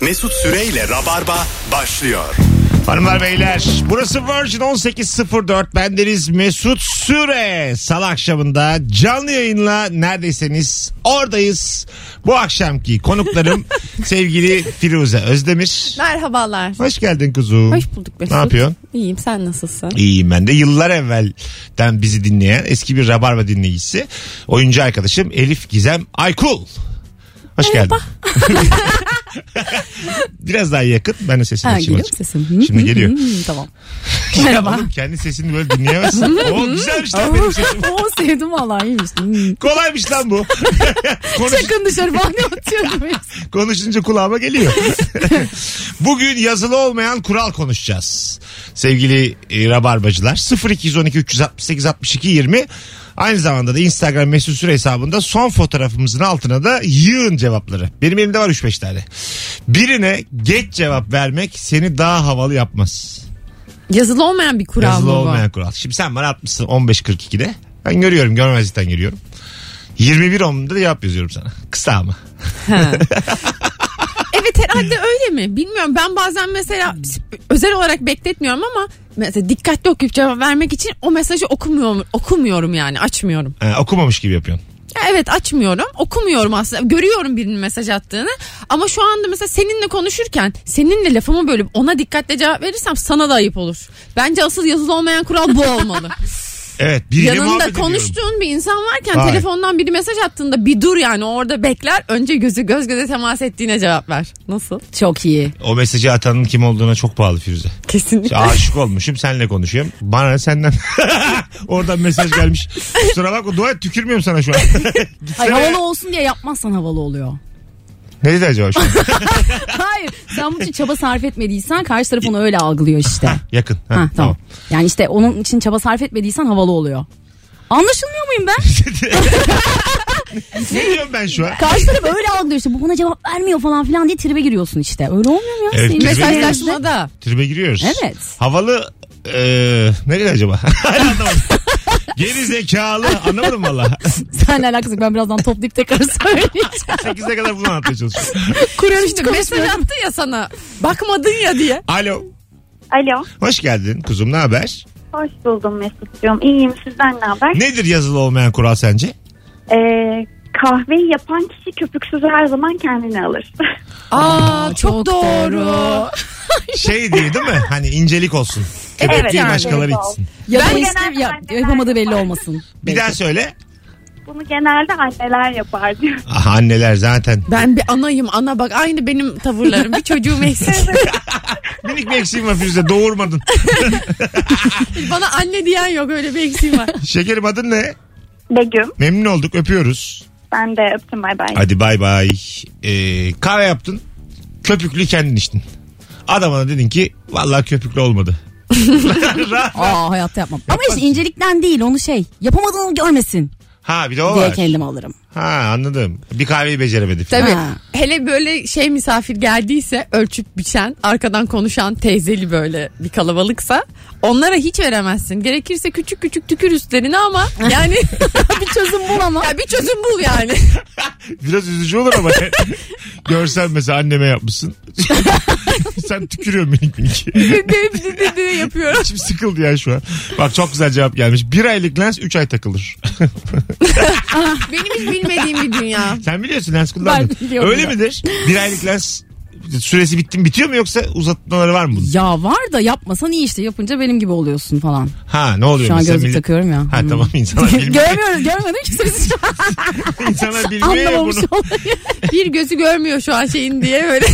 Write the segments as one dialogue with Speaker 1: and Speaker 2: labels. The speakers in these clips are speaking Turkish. Speaker 1: Mesut Süreyle Rabarba başlıyor.
Speaker 2: Hanımlar beyler burası Virgin 18.04 bendeniz Mesut Süre salı akşamında canlı yayınla neredeyseniz oradayız. Bu akşamki konuklarım sevgili Firuze Özdemir.
Speaker 3: Merhabalar.
Speaker 2: Hoş geldin kuzum.
Speaker 3: Hoş bulduk Mesut.
Speaker 2: Ne yapıyorsun?
Speaker 3: İyiyim sen nasılsın?
Speaker 2: İyiyim ben de yıllar evvelden bizi dinleyen eski bir Rabarba dinleyicisi oyuncu arkadaşım Elif Gizem Aykul. Hoş geldin. Biraz daha yakın ben de sesini
Speaker 3: Ha,
Speaker 2: açayım.
Speaker 3: geliyor mu
Speaker 2: azıcık.
Speaker 3: sesim? Hı,
Speaker 2: Şimdi
Speaker 3: hı,
Speaker 2: geliyor.
Speaker 3: hı, hı, Hmm, tamam. Merhaba.
Speaker 2: Oğlum kendi sesini böyle dinleyemezsin. o güzelmiş lan benim sesim.
Speaker 3: Oo sevdim valla iyiymiş. Hmm.
Speaker 2: şey Kolaymış lan bu. Konuş,
Speaker 3: Sakın dışarı bahane atıyordum.
Speaker 2: konuşunca kulağıma geliyor. Bugün yazılı olmayan kural konuşacağız. Sevgili e, rabarbacılar 0212 368 62 20 aynı zamanda da Instagram mesut süre hesabında son fotoğrafımızın altına da yığın cevapları. Benim elimde var 3-5 tane. Birine geç cevap vermek seni daha havalı yapmaz.
Speaker 3: Yazılı olmayan bir kural
Speaker 2: Yazılı
Speaker 3: mı bu?
Speaker 2: olmayan kural. Şimdi sen bana atmışsın 15.42'de. Ben görüyorum görmezlikten görüyorum. 21.10'da da cevap yazıyorum sana. Kısa ama.
Speaker 3: Ha. evet herhalde öyle mi? Bilmiyorum ben bazen mesela özel olarak bekletmiyorum ama mesela dikkatli okuyup cevap vermek için o mesajı okumuyorum, okumuyorum yani açmıyorum.
Speaker 2: Ee, okumamış gibi yapıyorsun.
Speaker 3: Ya Evet açmıyorum. Okumuyorum aslında. Görüyorum birinin mesaj attığını. Ama şu anda mesela seninle konuşurken seninle lafımı bölüp ona dikkatle cevap verirsem sana da ayıp olur. Bence asıl yazılı olmayan kural bu olmalı.
Speaker 2: Evet biriyle muhabbet
Speaker 3: Yanında
Speaker 2: ediyorum.
Speaker 3: konuştuğun bir insan varken
Speaker 2: Vay.
Speaker 3: telefondan biri mesaj attığında bir dur yani orada bekler. Önce gözü göz göze temas ettiğine cevap ver. Nasıl? Çok iyi.
Speaker 2: O mesajı atanın kim olduğuna çok bağlı Firuze.
Speaker 3: Kesinlikle.
Speaker 2: İşte aşık olmuşum seninle konuşuyorum. Bana ne senden. Oradan mesaj gelmiş. Kusura bakma dua et tükürmüyorum sana şu an.
Speaker 4: Hayır,
Speaker 2: Gitsene.
Speaker 4: havalı olsun diye yapmazsan havalı oluyor.
Speaker 2: ne dedi acaba şu an?
Speaker 4: Hayır. Sen bunun için çaba sarf etmediysen karşı taraf onu öyle algılıyor işte. ha,
Speaker 2: Yakın. Ha,
Speaker 4: tamam.
Speaker 2: tamam.
Speaker 4: Yani işte onun için çaba sarf etmediysen havalı oluyor. Anlaşılmıyor muyum ben?
Speaker 2: Ne diyorum ben şu an?
Speaker 4: Karşı taraf öyle algılıyor işte. Bu bana cevap vermiyor falan filan diye tribe giriyorsun işte. Öyle olmuyor mu ya?
Speaker 2: Evet,
Speaker 4: Senin
Speaker 2: tribe
Speaker 4: mesajlaşma-
Speaker 3: Mesajlaşmada.
Speaker 2: Tribe giriyoruz.
Speaker 4: Evet.
Speaker 2: Havalı e, nereye acaba? Hala anlamadım. Geri zekalı anlamadım valla.
Speaker 4: Seninle alakası yok. Ben birazdan toplayıp tekrar söyleyeceğim.
Speaker 2: 8'e kadar bunu anlatmaya çalışıyorum.
Speaker 3: Kuruyor
Speaker 4: Hiç
Speaker 3: işte mesaj
Speaker 4: konuşmuyorum.
Speaker 3: attı ya sana. Bakmadın ya diye.
Speaker 2: Alo.
Speaker 5: Alo.
Speaker 2: Hoş geldin kuzum ne haber?
Speaker 5: Hoş buldum Mesut'cuğum. İyiyim. Sizden ne haber?
Speaker 2: Nedir yazılı olmayan kural sence?
Speaker 5: Ee, kahveyi yapan kişi köpüksüzü her zaman kendini alır.
Speaker 3: Aa, çok doğru.
Speaker 2: Şey diye değil mi? Hani incelik olsun. Köpek
Speaker 5: Evet,
Speaker 2: değil
Speaker 5: yani.
Speaker 2: başkaları
Speaker 5: Evet,
Speaker 2: içsin.
Speaker 4: Ya da
Speaker 3: Ben
Speaker 4: işte
Speaker 5: genelde
Speaker 4: ya-
Speaker 5: annemler
Speaker 4: yapamadığı belli
Speaker 5: yapar.
Speaker 4: olmasın.
Speaker 2: Bir daha söyle.
Speaker 5: Bunu genelde anneler yapar diyor.
Speaker 2: Ah, anneler zaten.
Speaker 3: Ben bir anayım ana bak aynı benim tavırlarım. Bir çocuğum eksik.
Speaker 2: Minik bir eksiğim var Firuze doğurmadın.
Speaker 3: Bana anne diyen yok öyle bir eksiğim var.
Speaker 2: Şekerim adın ne?
Speaker 5: Begüm.
Speaker 2: Memnun olduk öpüyoruz.
Speaker 5: Ben de öptüm. Bay bay.
Speaker 2: Hadi bay bay. Ee, kahve yaptın. Köpüklü kendin içtin. Adamına dedin ki vallahi köpüklü olmadı. Rahat.
Speaker 4: Aa hayatta yapmam. Ama işte incelikten değil onu şey yapamadığını görmesin
Speaker 2: ha bir de o
Speaker 4: diye
Speaker 2: var.
Speaker 4: kendimi alırım.
Speaker 2: Ha anladım. Bir kahveyi beceremedi.
Speaker 3: Tabii.
Speaker 4: Ha.
Speaker 3: Hele böyle şey misafir geldiyse ölçüp biçen, arkadan konuşan teyzeli böyle bir kalabalıksa onlara hiç veremezsin. Gerekirse küçük küçük tükür üstlerine ama yani bir çözüm bul ama. Ya bir çözüm bul yani.
Speaker 2: Biraz üzücü olur ama. Görsen mesela anneme yapmışsın. Sen tükürüyorsun minik minik.
Speaker 3: yapıyorum.
Speaker 2: İçim sıkıldı ya şu an. Bak çok güzel cevap gelmiş. Bir aylık lens 3 ay takılır.
Speaker 3: Benim hiç bilmediğim bir dünya.
Speaker 2: Sen biliyorsun lens kullandın.
Speaker 4: Ben biliyorum
Speaker 2: Öyle
Speaker 4: ya.
Speaker 2: midir? Bir aylık lens süresi bitti mi bitiyor mu yoksa uzatmaları var mı bunun?
Speaker 4: Ya var da yapmasan iyi işte yapınca benim gibi oluyorsun falan.
Speaker 2: Ha ne oluyor?
Speaker 4: Şu an
Speaker 2: mesela?
Speaker 4: gözlük
Speaker 2: Millet-
Speaker 4: takıyorum ya.
Speaker 2: Ha
Speaker 4: Hmm.
Speaker 2: tamam insanlar bilmiyor.
Speaker 4: Görmüyorum görmedim ki siz şu an
Speaker 2: insanlar bilmiyor ya
Speaker 4: anlamamış
Speaker 2: bunu.
Speaker 4: olabilir.
Speaker 3: Bir gözü görmüyor şu an şeyin diye böyle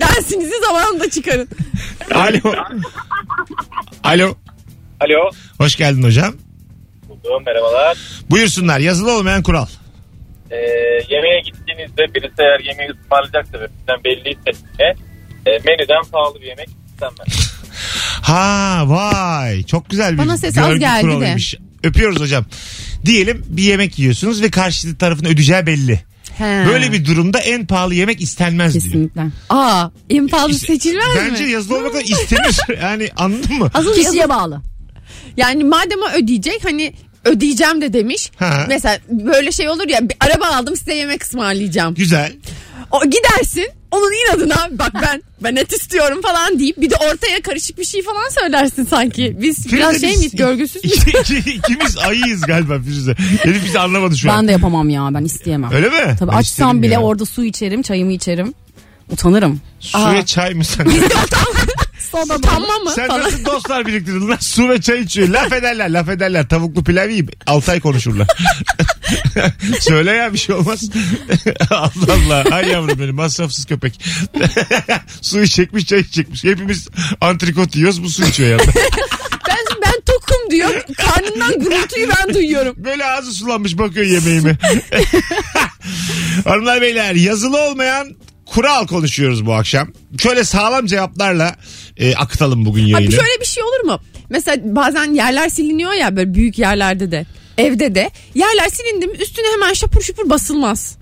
Speaker 3: dersinizi zamanında çıkarın.
Speaker 2: Alo. Alo.
Speaker 6: Alo.
Speaker 2: Hoş geldin hocam.
Speaker 6: Buldum merhabalar.
Speaker 2: Buyursunlar yazılı olmayan kural.
Speaker 6: Ee, yemeğe gittiğinizde birisi eğer yemeği ısmarlayacaksa ve bizden belliyse size, e, menüden pahalı bir yemek istenmez.
Speaker 2: Ha vay çok güzel bir
Speaker 3: Bana ses az
Speaker 2: görgü
Speaker 3: geldi de.
Speaker 2: kuralıymış. Öpüyoruz hocam. Diyelim bir yemek yiyorsunuz ve karşı tarafın ödeyeceği belli. Böyle bir durumda en pahalı yemek istenmez diyor.
Speaker 4: Kesinlikle.
Speaker 3: Aa, en pahalı
Speaker 2: İşte
Speaker 3: seçilmez mi?
Speaker 2: Bence yazılı olmakla istenir. Yani anladın mı?
Speaker 4: Asıl kişiye bağlı.
Speaker 3: Yani madem o ödeyecek hani ödeyeceğim de demiş.
Speaker 2: Ha.
Speaker 3: Mesela böyle şey olur ya bir araba aldım size yemek ısmarlayacağım.
Speaker 2: Güzel.
Speaker 3: O gidersin onun inadına bak ben ben et istiyorum falan deyip bir de ortaya karışık bir şey falan söylersin sanki. Biz biraz şey miyiz görgüsüz müyüz?
Speaker 2: ikimiz ayıyız galiba Firuze. Elif bizi anlamadı şu an.
Speaker 4: Ben de yapamam ya ben isteyemem.
Speaker 2: Öyle mi?
Speaker 4: Tabii
Speaker 2: Ben isterim
Speaker 4: açsam bile
Speaker 2: ya.
Speaker 4: orada su içerim çayımı içerim. Utanırım.
Speaker 2: Suya çay mı sen?
Speaker 4: Soda
Speaker 3: Utanma mı
Speaker 2: sen
Speaker 3: falan.
Speaker 2: nasıl dostlar biriktirdin lan? Su ve çay içiyor. Laf ederler laf ederler. Tavuklu pilav yiyip 6 ay konuşurlar. Söyle ya bir şey olmaz. Allah Allah. Ay yavrum benim masrafsız köpek. Suyu çekmiş çay çekmiş. Hepimiz antrikot yiyoruz bu su içiyor ya.
Speaker 3: Ben, ben tokum diyor. Karnından gürültüyü ben duyuyorum.
Speaker 2: Böyle ağzı sulanmış bakıyor yemeğime. Hanımlar beyler yazılı olmayan kural konuşuyoruz bu akşam. Şöyle sağlam cevaplarla e, akıtalım bugün
Speaker 3: Abi
Speaker 2: yayını.
Speaker 3: şöyle bir şey olur mu? Mesela bazen yerler siliniyor ya böyle büyük yerlerde de. Evde de yerler silindi mi üstüne hemen şapur şupur basılmaz.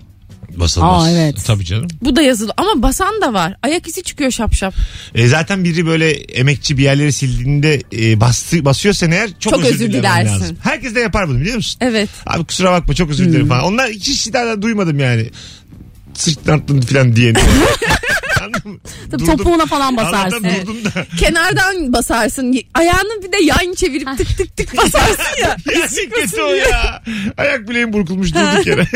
Speaker 2: Basılmaz.
Speaker 4: Aa, evet.
Speaker 2: Tabii canım.
Speaker 3: Bu da yazılı ama basan da var. Ayak izi çıkıyor şapşap.
Speaker 2: E, zaten biri böyle emekçi bir yerleri sildiğinde e, bastı, basıyorsan eğer çok,
Speaker 3: Çok
Speaker 2: özür,
Speaker 3: özür
Speaker 2: dilemen
Speaker 3: dilersin.
Speaker 2: lazım. Herkes de yapar bunu biliyor musun?
Speaker 3: Evet.
Speaker 2: Abi kusura bakma çok özür dilerim falan. Onlar hiç şeylerden duymadım yani. Sırtlanttın falan diyeni. Anladın mı?
Speaker 4: Tabii
Speaker 2: Durdum.
Speaker 4: topuğuna falan basarsın.
Speaker 2: Anladım, durdum da.
Speaker 3: Kenardan basarsın. Ayağını bir de yan çevirip tık tık tık basarsın ya.
Speaker 2: Ya kötü o ya. Ayak bileğim burkulmuş durduk yere.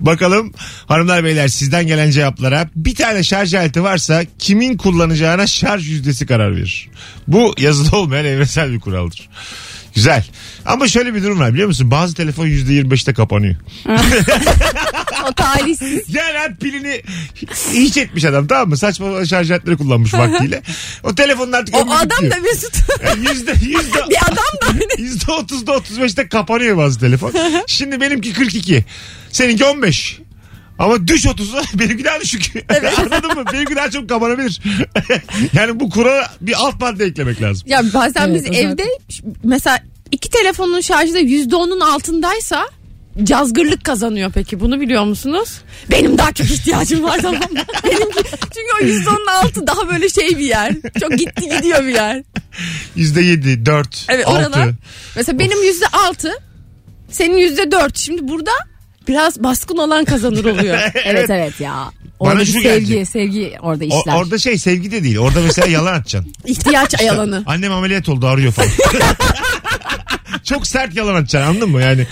Speaker 2: Bakalım hanımlar beyler sizden gelen cevaplara bir tane şarj aleti varsa kimin kullanacağına şarj yüzdesi karar verir. Bu yazılı olmayan evrensel bir kuraldır. Güzel. Ama şöyle bir durum var biliyor musun? Bazı telefon %25'te kapanıyor.
Speaker 3: O talihsiz.
Speaker 2: Yani abi pilini hiç etmiş adam tamam mı? Saçma sapan şarj aletleri kullanmış vaktiyle. O telefonun artık
Speaker 3: O
Speaker 2: ömrü
Speaker 3: adam
Speaker 2: bitiyor.
Speaker 3: da Mesut.
Speaker 2: Yani yüzde, yüzde,
Speaker 3: bir adam da hani.
Speaker 2: Yüzde otuzda otuz beşte kapanıyor bazı telefon. Şimdi benimki 42. Seninki 15. Ama düş 30'a benimki daha düşük. Anladın mı? Benimki daha çok kapanabilir. yani bu kurala bir alt madde eklemek lazım.
Speaker 3: Ya bazen
Speaker 4: Evet,
Speaker 3: biz
Speaker 4: özellikle.
Speaker 3: evde ş- mesela iki telefonun şarjı da yüzde onun altındaysa cazgırlık kazanıyor peki bunu biliyor musunuz? Benim daha çok ihtiyacım var tamam mı? Benimki çünkü o yüzde onun altı daha böyle şey bir yer. Çok gitti gidiyor bir yer.
Speaker 2: Yüzde 7, 4,
Speaker 3: Evet oralar.
Speaker 2: 6.
Speaker 3: Mesela benim yüzde altı senin yüzde dört. Şimdi burada biraz baskın olan kazanır oluyor.
Speaker 4: Evet evet ya.
Speaker 2: Bana
Speaker 4: Orada bir
Speaker 2: şu
Speaker 4: sevgi,
Speaker 2: gelecek.
Speaker 4: sevgi orada
Speaker 2: O-
Speaker 4: işler.
Speaker 2: orada şey sevgi de değil. Orada mesela yalan atacaksın.
Speaker 3: İhtiyaç ayalanı.
Speaker 2: Annem ameliyat oldu arıyor falan. Çok sert yalan atacaksın anladın mı? Yani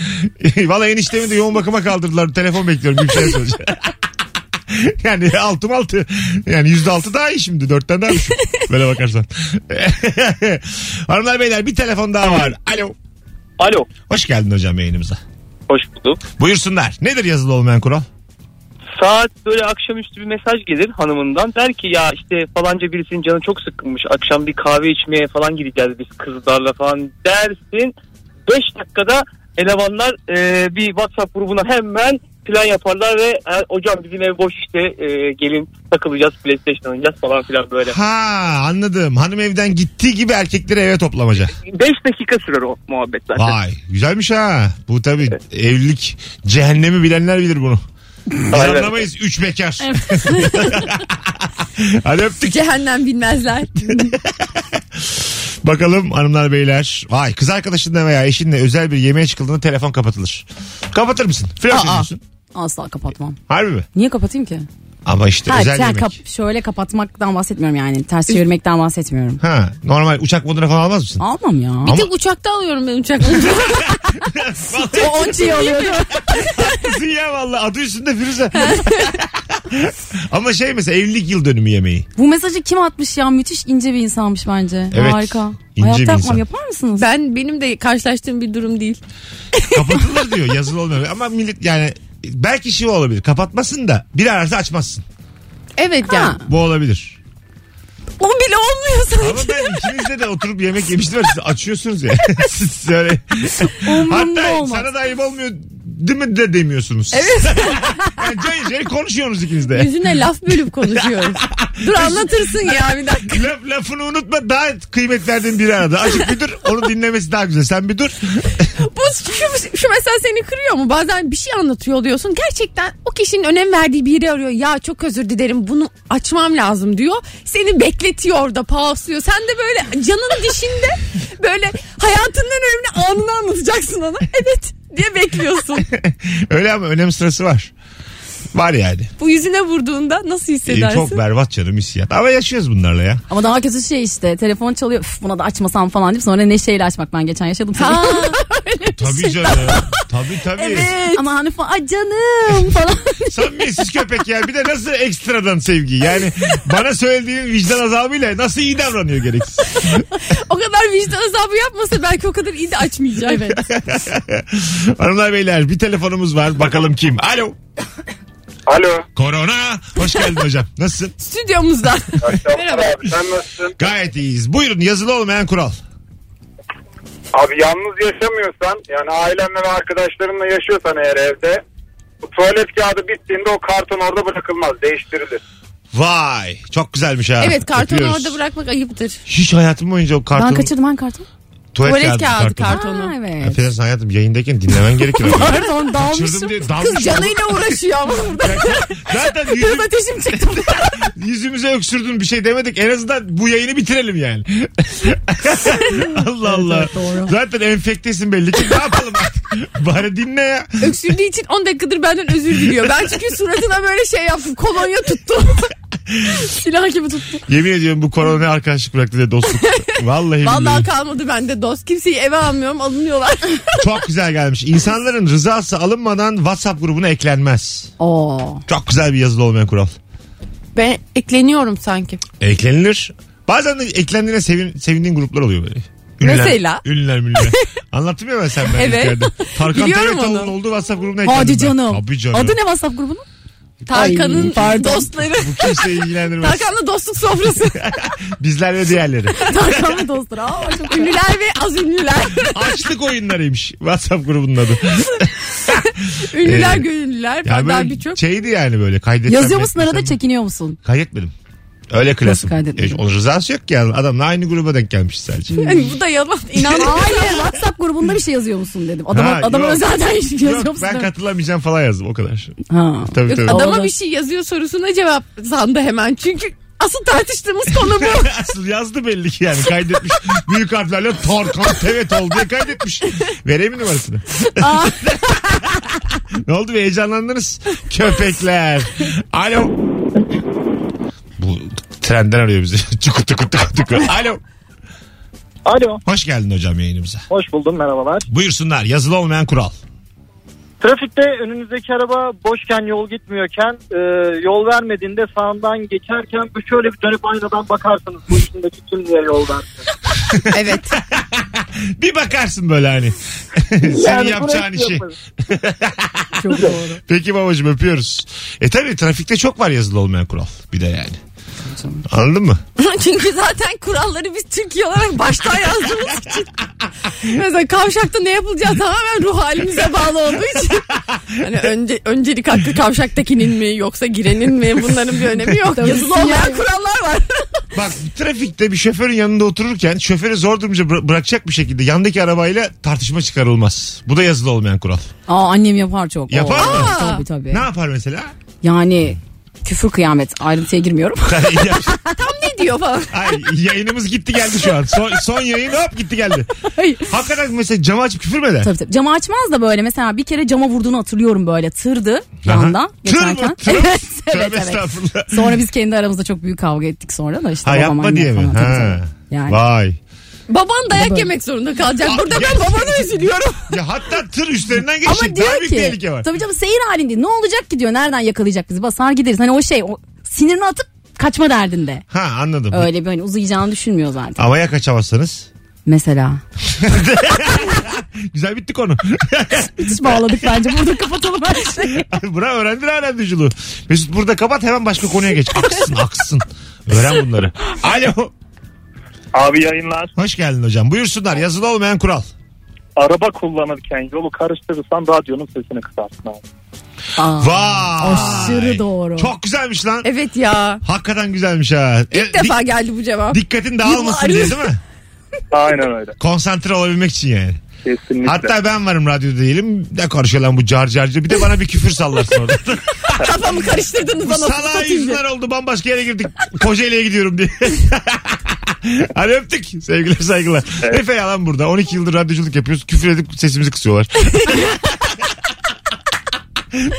Speaker 2: valla eniştemi de yoğun bakıma kaldırdılar. Telefon bekliyorum gibi bir şey söyleyeceğim. yani altım altı. Yani yüzde altı daha iyi şimdi. Dörtten daha düşük. Böyle bakarsan. Hanımlar beyler bir telefon daha var. Alo.
Speaker 6: Alo.
Speaker 2: Hoş geldin hocam yayınımıza.
Speaker 6: Hoş bulduk.
Speaker 2: Buyursunlar. Nedir yazılı olmayan kural?
Speaker 6: Saat böyle akşamüstü bir mesaj gelir hanımından. Der ki ya işte falanca birisinin canı çok sıkılmış. Akşam bir kahve içmeye falan gideceğiz biz kızlarla falan dersin. 5 dakikada elemanlar e, bir WhatsApp grubuna hemen plan yaparlar ve "Ha, hocam bizim ev boş işte e, gelin takılacağız PlayStation oynayacağız falan filan böyle.
Speaker 2: Ha anladım. Hanım evden gittiği gibi erkekleri eve toplamaca.
Speaker 6: 5 dakika sürer o muhabbet zaten.
Speaker 2: Vay güzelmiş ha. Bu tabii evlilik cehennemi bilenler bilir bunu. Biz
Speaker 6: Aynen.
Speaker 2: anlamayız. Üç bekar. Hadi öptük.
Speaker 3: Cehennem bilmezler.
Speaker 2: Bakalım hanımlar beyler. Vay kız arkadaşınla veya eşinle özel bir yemeğe çıkıldığında telefon kapatılır. Kapatır mısın? Flört
Speaker 4: Aa.
Speaker 2: ediyorsun.
Speaker 4: Asla kapatmam.
Speaker 2: Harbi mi?
Speaker 4: Niye kapatayım ki?
Speaker 2: Ama işte
Speaker 4: Ha,
Speaker 2: özel
Speaker 4: ter-
Speaker 2: yemek.
Speaker 4: kap- şöyle kapatmaktan bahsetmiyorum yani. Ters çevirmekten bahsetmiyorum.
Speaker 2: Ha, normal uçak moduna falan almaz mısın?
Speaker 4: Almam ya.
Speaker 3: Bir tek uçakta alıyorum ben uçak. o onçayı alıyorum.
Speaker 2: Haklısın ya valla adı üstünde Firuze. Ama şey mesela evlilik yıl dönümü yemeği.
Speaker 4: Bu mesajı kim atmış ya? Müthiş ince bir insanmış bence.
Speaker 2: Evet,
Speaker 4: Harika.
Speaker 2: ince
Speaker 4: Hayatta
Speaker 2: bir
Speaker 4: yapmam
Speaker 2: insan.
Speaker 4: yapar mısınız?
Speaker 3: Ben benim de karşılaştığım bir durum değil.
Speaker 2: Kapatılır diyor yazılı olmuyor. Ama millet yani belki şey olabilir. Kapatmasın da bir ararsa açmazsın.
Speaker 3: Evet
Speaker 4: Ha.
Speaker 3: ya.
Speaker 2: Bu olabilir.
Speaker 3: O bile olmuyor
Speaker 2: Ama
Speaker 3: sanki.
Speaker 2: ben ikinizde de oturup yemek yemiştim. ama Siz açıyorsunuz ya. Siz öyle.
Speaker 4: Umurumda
Speaker 2: Hatta
Speaker 4: olmaz.
Speaker 2: sana da ayıp olmuyor değil mi de demiyorsunuz. Evet. yani cayır cayır konuşuyorsunuz ikiniz de.
Speaker 3: Yüzüne laf bölüp konuşuyoruz. Dur anlatırsın ya bir dakika.
Speaker 2: Laf, lafını unutma daha kıymet verdiğin biri arada. Açık bir dur onu dinlemesi daha güzel. Sen bir dur.
Speaker 3: Bu şu, şu mesela seni kırıyor mu? Bazen bir şey anlatıyor oluyorsun. Gerçekten o kişinin önem verdiği bir yeri arıyor. Ya çok özür dilerim bunu açmam lazım diyor. Seni bekletiyor orada pausuyor. Sen de böyle canın dişinde böyle hayatının en önemli anını anlatacaksın ona. Evet diye bekliyorsun.
Speaker 2: Öyle ama önem sırası var. Var yani.
Speaker 3: Bu yüzüne vurduğunda nasıl
Speaker 2: Ee,
Speaker 3: hissedersin?
Speaker 2: çok berbat canım hissiyat. Ama yaşıyoruz bunlarla ya.
Speaker 4: Ama daha kötü şey işte telefon çalıyor Üf, buna da açmasam falan deyip sonra neşeyle açmak ben geçen yaşadım.
Speaker 3: Ha,
Speaker 2: Tabii canım. tabii tabii.
Speaker 4: Ama hanım falan, "Ay canım falan.
Speaker 2: Samimiyetsiz köpek yani. Bir de nasıl ekstradan sevgi. Yani bana söylediğin vicdan azabıyla nasıl iyi davranıyor gereksiz.
Speaker 3: o kadar vicdan azabı yapmasa belki o kadar iyi de açmayacak.
Speaker 4: evet.
Speaker 2: Hanımlar beyler bir telefonumuz var. Bakalım kim? Alo.
Speaker 7: Alo.
Speaker 2: Korona. Hoş geldin hocam. Nasılsın?
Speaker 3: Stüdyomuzda. Merhaba.
Speaker 7: Abi sen nasılsın?
Speaker 2: Gayet iyiyiz. Buyurun yazılı olmayan kural.
Speaker 7: Abi yalnız yaşamıyorsan yani ailenle ve arkadaşlarınla yaşıyorsan eğer evde bu tuvalet kağıdı bittiğinde o karton orada bırakılmaz. Değiştirilir.
Speaker 2: Vay. Çok güzelmiş ha.
Speaker 3: Evet kartonu
Speaker 2: Öpüyoruz.
Speaker 3: orada bırakmak ayıptır.
Speaker 2: Hiç hayatım boyunca o karton.
Speaker 4: Ben kaçırdım hangi kartonu?
Speaker 2: Tuvalet,
Speaker 3: Tuvalet kağıdı
Speaker 2: kartonu.
Speaker 3: kartonu.
Speaker 4: Ha, evet.
Speaker 2: Affedersin hayatım yayındayken dinlemen gerekir.
Speaker 4: Pardon
Speaker 2: Kaçırdım
Speaker 4: dalmışım.
Speaker 2: diye dalmışım.
Speaker 3: Kız canıyla uğraşıyor ama burada.
Speaker 2: Zaten
Speaker 4: Biraz
Speaker 2: yüzüm,
Speaker 4: ateşim çıktı.
Speaker 2: yüzümüze öksürdün bir şey demedik. En azından bu yayını bitirelim yani. Allah Allah.
Speaker 4: evet, doğru.
Speaker 2: Zaten enfektesin belli ki. Ne yapalım artık? Bari dinle ya.
Speaker 3: Öksürdüğü için 10 dakikadır benden özür diliyor. Ben çünkü suratına böyle şey yaptım. Kolonya tuttu. Silah gibi tuttu.
Speaker 2: Yemin ediyorum bu korona ne arkadaşlık bıraktı diye dostluk. Vallahi,
Speaker 3: Vallahi
Speaker 2: billahi.
Speaker 3: kalmadı bende dost. Kimseyi eve almıyorum alınıyorlar.
Speaker 2: Çok güzel gelmiş. İnsanların rızası alınmadan WhatsApp grubuna eklenmez.
Speaker 4: Oo.
Speaker 2: Çok güzel bir yazılı olmayan kural.
Speaker 3: Ben ekleniyorum sanki.
Speaker 2: Eklenilir. Bazen de eklendiğine sevin, sevindiğin gruplar oluyor böyle.
Speaker 3: Mesela?
Speaker 2: Ünlüler münlüler. Anlattım ya ben sen ben
Speaker 3: Evet.
Speaker 2: evet. Tarkan
Speaker 3: Biliyorum
Speaker 2: Tevetoğlu'nun
Speaker 3: onu.
Speaker 2: olduğu WhatsApp grubuna eklendim
Speaker 4: Hadi
Speaker 2: ben.
Speaker 4: canım.
Speaker 2: Tabii canım.
Speaker 4: Adı ne WhatsApp grubunun?
Speaker 3: Tarkan'ın
Speaker 4: Ay, pardon.
Speaker 3: dostları.
Speaker 2: Bu kimseyi ilgilendirmez.
Speaker 3: Tarkan'la dostluk sofrası.
Speaker 2: Bizler ve diğerleri.
Speaker 4: Tarkan ve dostları. Aa, çok güzel.
Speaker 3: ünlüler ve az ünlüler.
Speaker 2: Açlık oyunlarıymış WhatsApp grubunun adı.
Speaker 3: Ünlüler
Speaker 2: Ee,
Speaker 3: gönüllüler.
Speaker 2: Ya
Speaker 3: Ben daha
Speaker 2: böyle
Speaker 3: birçok.
Speaker 2: şeydi yani böyle kaydetmem.
Speaker 4: Yazıyor musun arada
Speaker 2: etmesem-
Speaker 4: çekiniyor musun?
Speaker 2: Kaydetmedim. Öyle klasım.
Speaker 4: kaydetmedin?
Speaker 2: E, onun rızası yok ki yani. Adamla aynı gruba denk gelmiş sadece.
Speaker 3: Yani bu da yalan. İnanmıyorum.
Speaker 4: Hayır WhatsApp grubunda bir şey yazıyor musun dedim. Adama,
Speaker 2: Ha,
Speaker 4: adama
Speaker 2: yok.
Speaker 4: özelden şey yazıyor
Speaker 2: Yok
Speaker 4: musun?
Speaker 2: ben
Speaker 4: dedim.
Speaker 2: katılamayacağım falan yazdım o kadar.
Speaker 4: Ha.
Speaker 2: Tabii
Speaker 3: Yok,
Speaker 2: tabii.
Speaker 3: adama
Speaker 4: Doğru.
Speaker 3: bir şey yazıyor sorusuna cevap sandı hemen. Çünkü asıl tartıştığımız konu bu.
Speaker 2: Asıl yazdı belli ki yani kaydetmiş. Büyük harflerle Tarkan Tevetoğlu diye kaydetmiş. Vereyim mi numarasını? ne oldu bir heyecanlandınız? Köpekler. Alo. Bu trenden arıyor bizi. Çukur tukur tukur tukur. Alo.
Speaker 6: Alo.
Speaker 2: Hoş geldin hocam yayınımıza.
Speaker 6: Hoş buldum merhabalar.
Speaker 2: Buyursunlar yazılı olmayan kural.
Speaker 6: Trafikte önünüzdeki araba boşken yol gitmiyorken e, yol vermediğinde sağından geçerken bir şöyle bir dönüp aynadan bakarsınız. Bu üstündeki kim diye yol verdi.
Speaker 3: evet.
Speaker 2: Bir bakarsın böyle hani. Senin
Speaker 6: Yani şey
Speaker 2: yapacağın
Speaker 6: burası
Speaker 2: işi.
Speaker 6: yapılır.
Speaker 4: Çok doğru.
Speaker 2: Peki babacığım öpüyoruz. E tabi trafikte çok var yazılı olmayan kural. Bir de yani. Anladın mı?
Speaker 3: Çünkü zaten kuralları biz Türkiye olarak baştan yazdığımız için. Mesela kavşakta ne yapılacağı tamamen ruh halimize bağlı olduğu için. Hani önce, öncelik hakkı kavşaktakinin mi yoksa girenin mi bunların bir önemi yok. Yazılı olmayan kurallar var.
Speaker 2: Bak trafikte bir şoförün yanında otururken şoförü zor durumda bıra- bırakacak bir şekilde yandaki arabayla tartışma çıkarılmaz. Bu da yazılı olmayan kural.
Speaker 4: Aa annem yapar çok.
Speaker 2: Yapar
Speaker 4: Oo,
Speaker 2: mı?
Speaker 4: Tabii tabii.
Speaker 2: Ne yapar mesela?
Speaker 4: Yani küfür kıyamet ayrıntıya girmiyorum.
Speaker 3: ne diyor falan.
Speaker 2: Ay, yayınımız gitti geldi şu an. Son, son yayın hop gitti geldi.
Speaker 4: Hayır.
Speaker 2: Hakikaten mesela camı açıp küfür mü eder?
Speaker 4: Tabii tabii. Camı açmaz da böyle mesela bir kere cama vurduğunu hatırlıyorum böyle tırdı yandan
Speaker 2: Tır mı?
Speaker 4: geçerken.
Speaker 2: Tır mı?
Speaker 4: evet, evet,
Speaker 2: Tövbe
Speaker 4: evet.
Speaker 2: estağfurullah.
Speaker 4: Sonra biz kendi aramızda çok büyük kavga ettik sonra da işte
Speaker 2: Ha
Speaker 4: babam
Speaker 2: yapma
Speaker 4: annem
Speaker 2: diye mi?
Speaker 4: falan. Tabii,
Speaker 2: Ha.
Speaker 4: tabii. Yani.
Speaker 2: Vay.
Speaker 3: Baban dayak
Speaker 4: Baba.
Speaker 3: yemek zorunda kalacak. Burada
Speaker 2: Aa,
Speaker 3: ben
Speaker 2: gerçekten.
Speaker 3: babana üzülüyorum.
Speaker 2: Ya hatta tır üstlerinden geçecek. Daha
Speaker 4: Ama diyor
Speaker 2: büyük
Speaker 4: ki
Speaker 2: tehlike var.
Speaker 4: tabii canım seyir halinde ne olacak ki diyor nereden yakalayacak bizi basar gideriz. Hani o şey o sinirini atıp kaçma derdinde.
Speaker 2: Ha anladım.
Speaker 4: Öyle bir hani uzayacağını düşünmüyor zaten.
Speaker 2: Havaya kaçamazsanız.
Speaker 4: Mesela.
Speaker 2: Güzel bitti konu.
Speaker 4: Hiç bağladık bence burada kapatalım her şeyi.
Speaker 2: Bura öğrendin hala radyocuğu. Mesut burada kapat hemen başka konuya geç. Aksın aksın. Öğren bunları. Alo.
Speaker 6: Abi yayınlar.
Speaker 2: Hoş geldin hocam. Buyursunlar yazılı olmayan kural.
Speaker 6: Araba kullanırken yolu karıştırırsan radyonun sesini kısarsın abi.
Speaker 4: Aa,
Speaker 2: Vay.
Speaker 4: aşırı doğru.
Speaker 2: Çok güzelmiş lan.
Speaker 3: Evet ya.
Speaker 2: Hakikaten güzelmiş ha. E,
Speaker 3: İlk defa geldi bu cevap.
Speaker 2: di- dikkatin dağılmasın diye değil mi?
Speaker 6: Aynen öyle.
Speaker 2: Konsantre olabilmek için yani.
Speaker 6: Kesinlikle.
Speaker 2: Hatta ben varım radyoda değilim. Ne konuşuyor lan bu car carcı. Bir de bana bir küfür sallarsın orada.
Speaker 3: Kafamı karıştırdınız
Speaker 2: bu
Speaker 3: bana.
Speaker 2: salağa
Speaker 3: satayım diye.
Speaker 2: yüzler oldu bambaşka yere girdik. Kocaeli'ye gidiyorum diye. Hadi öptük. Sevgiler saygılar. Efe yalan burada. 12 yıldır radyoculuk yapıyoruz. Küfür edip sesimizi kısıyorlar.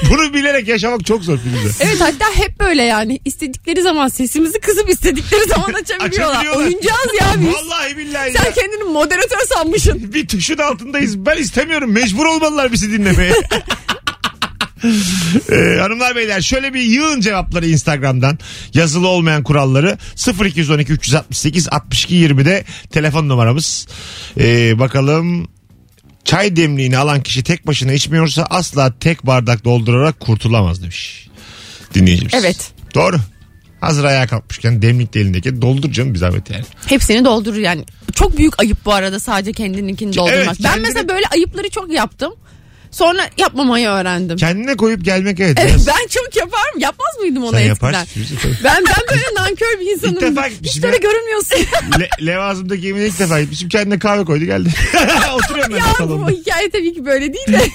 Speaker 2: Bunu bilerek yaşamak çok zor Firuze.
Speaker 3: Evet hatta hep böyle yani istedikleri zaman sesimizi kızıp istedikleri zaman açabiliyorlar.
Speaker 2: Açabiliyorlar.
Speaker 3: Oyuncağız ya biz.
Speaker 2: Vallahi billahi ya.
Speaker 3: E, Sen kendini moderatör sanmışsın.
Speaker 2: Bir tuşun altındayız. Ben istemiyorum. Mecbur olmalılar bizi dinlemeye. Ee, hanımlar beyler şöyle bir yığın cevapları Instagram'dan yazılı olmayan kuralları 0212 368 62 20'de telefon numaramız Ee, bakalım çay demliğini alan kişi tek başına içmiyorsa asla tek bardak doldurarak kurtulamaz demiş dinleyicimiz.
Speaker 3: Evet.
Speaker 2: Doğru. Hazır ayağa kalkmışken demlik de elindeki doldur canım bir zahmet yani.
Speaker 3: Hepsini doldurur yani. Çok büyük ayıp bu arada sadece kendininkini doldurmak.
Speaker 2: Evet,
Speaker 3: Ben
Speaker 2: kendini-
Speaker 3: mesela böyle ayıpları çok yaptım. Sonra yapmamayı öğrendim.
Speaker 2: Kendine koyup gelmek evet.
Speaker 3: Evet,
Speaker 2: biraz- şey
Speaker 3: ben çok yaparım. Yapmaz mıydım onu
Speaker 2: Sen
Speaker 3: eskiden?
Speaker 2: yaparsın Firuze, tabii.
Speaker 3: Ben ben böyle nankör bir insanım.
Speaker 2: İlk defa
Speaker 3: Hiç
Speaker 2: gitmişim
Speaker 3: de öyle
Speaker 2: ya.
Speaker 3: görünmüyorsun.
Speaker 2: Le- Levazım'daki evine ilk defa gitmişim. Kendine kahve koydu geldi. Oturuyorum ben
Speaker 3: ya
Speaker 2: de
Speaker 3: bu
Speaker 2: salonda.
Speaker 3: hikaye tabii ki böyle değil de.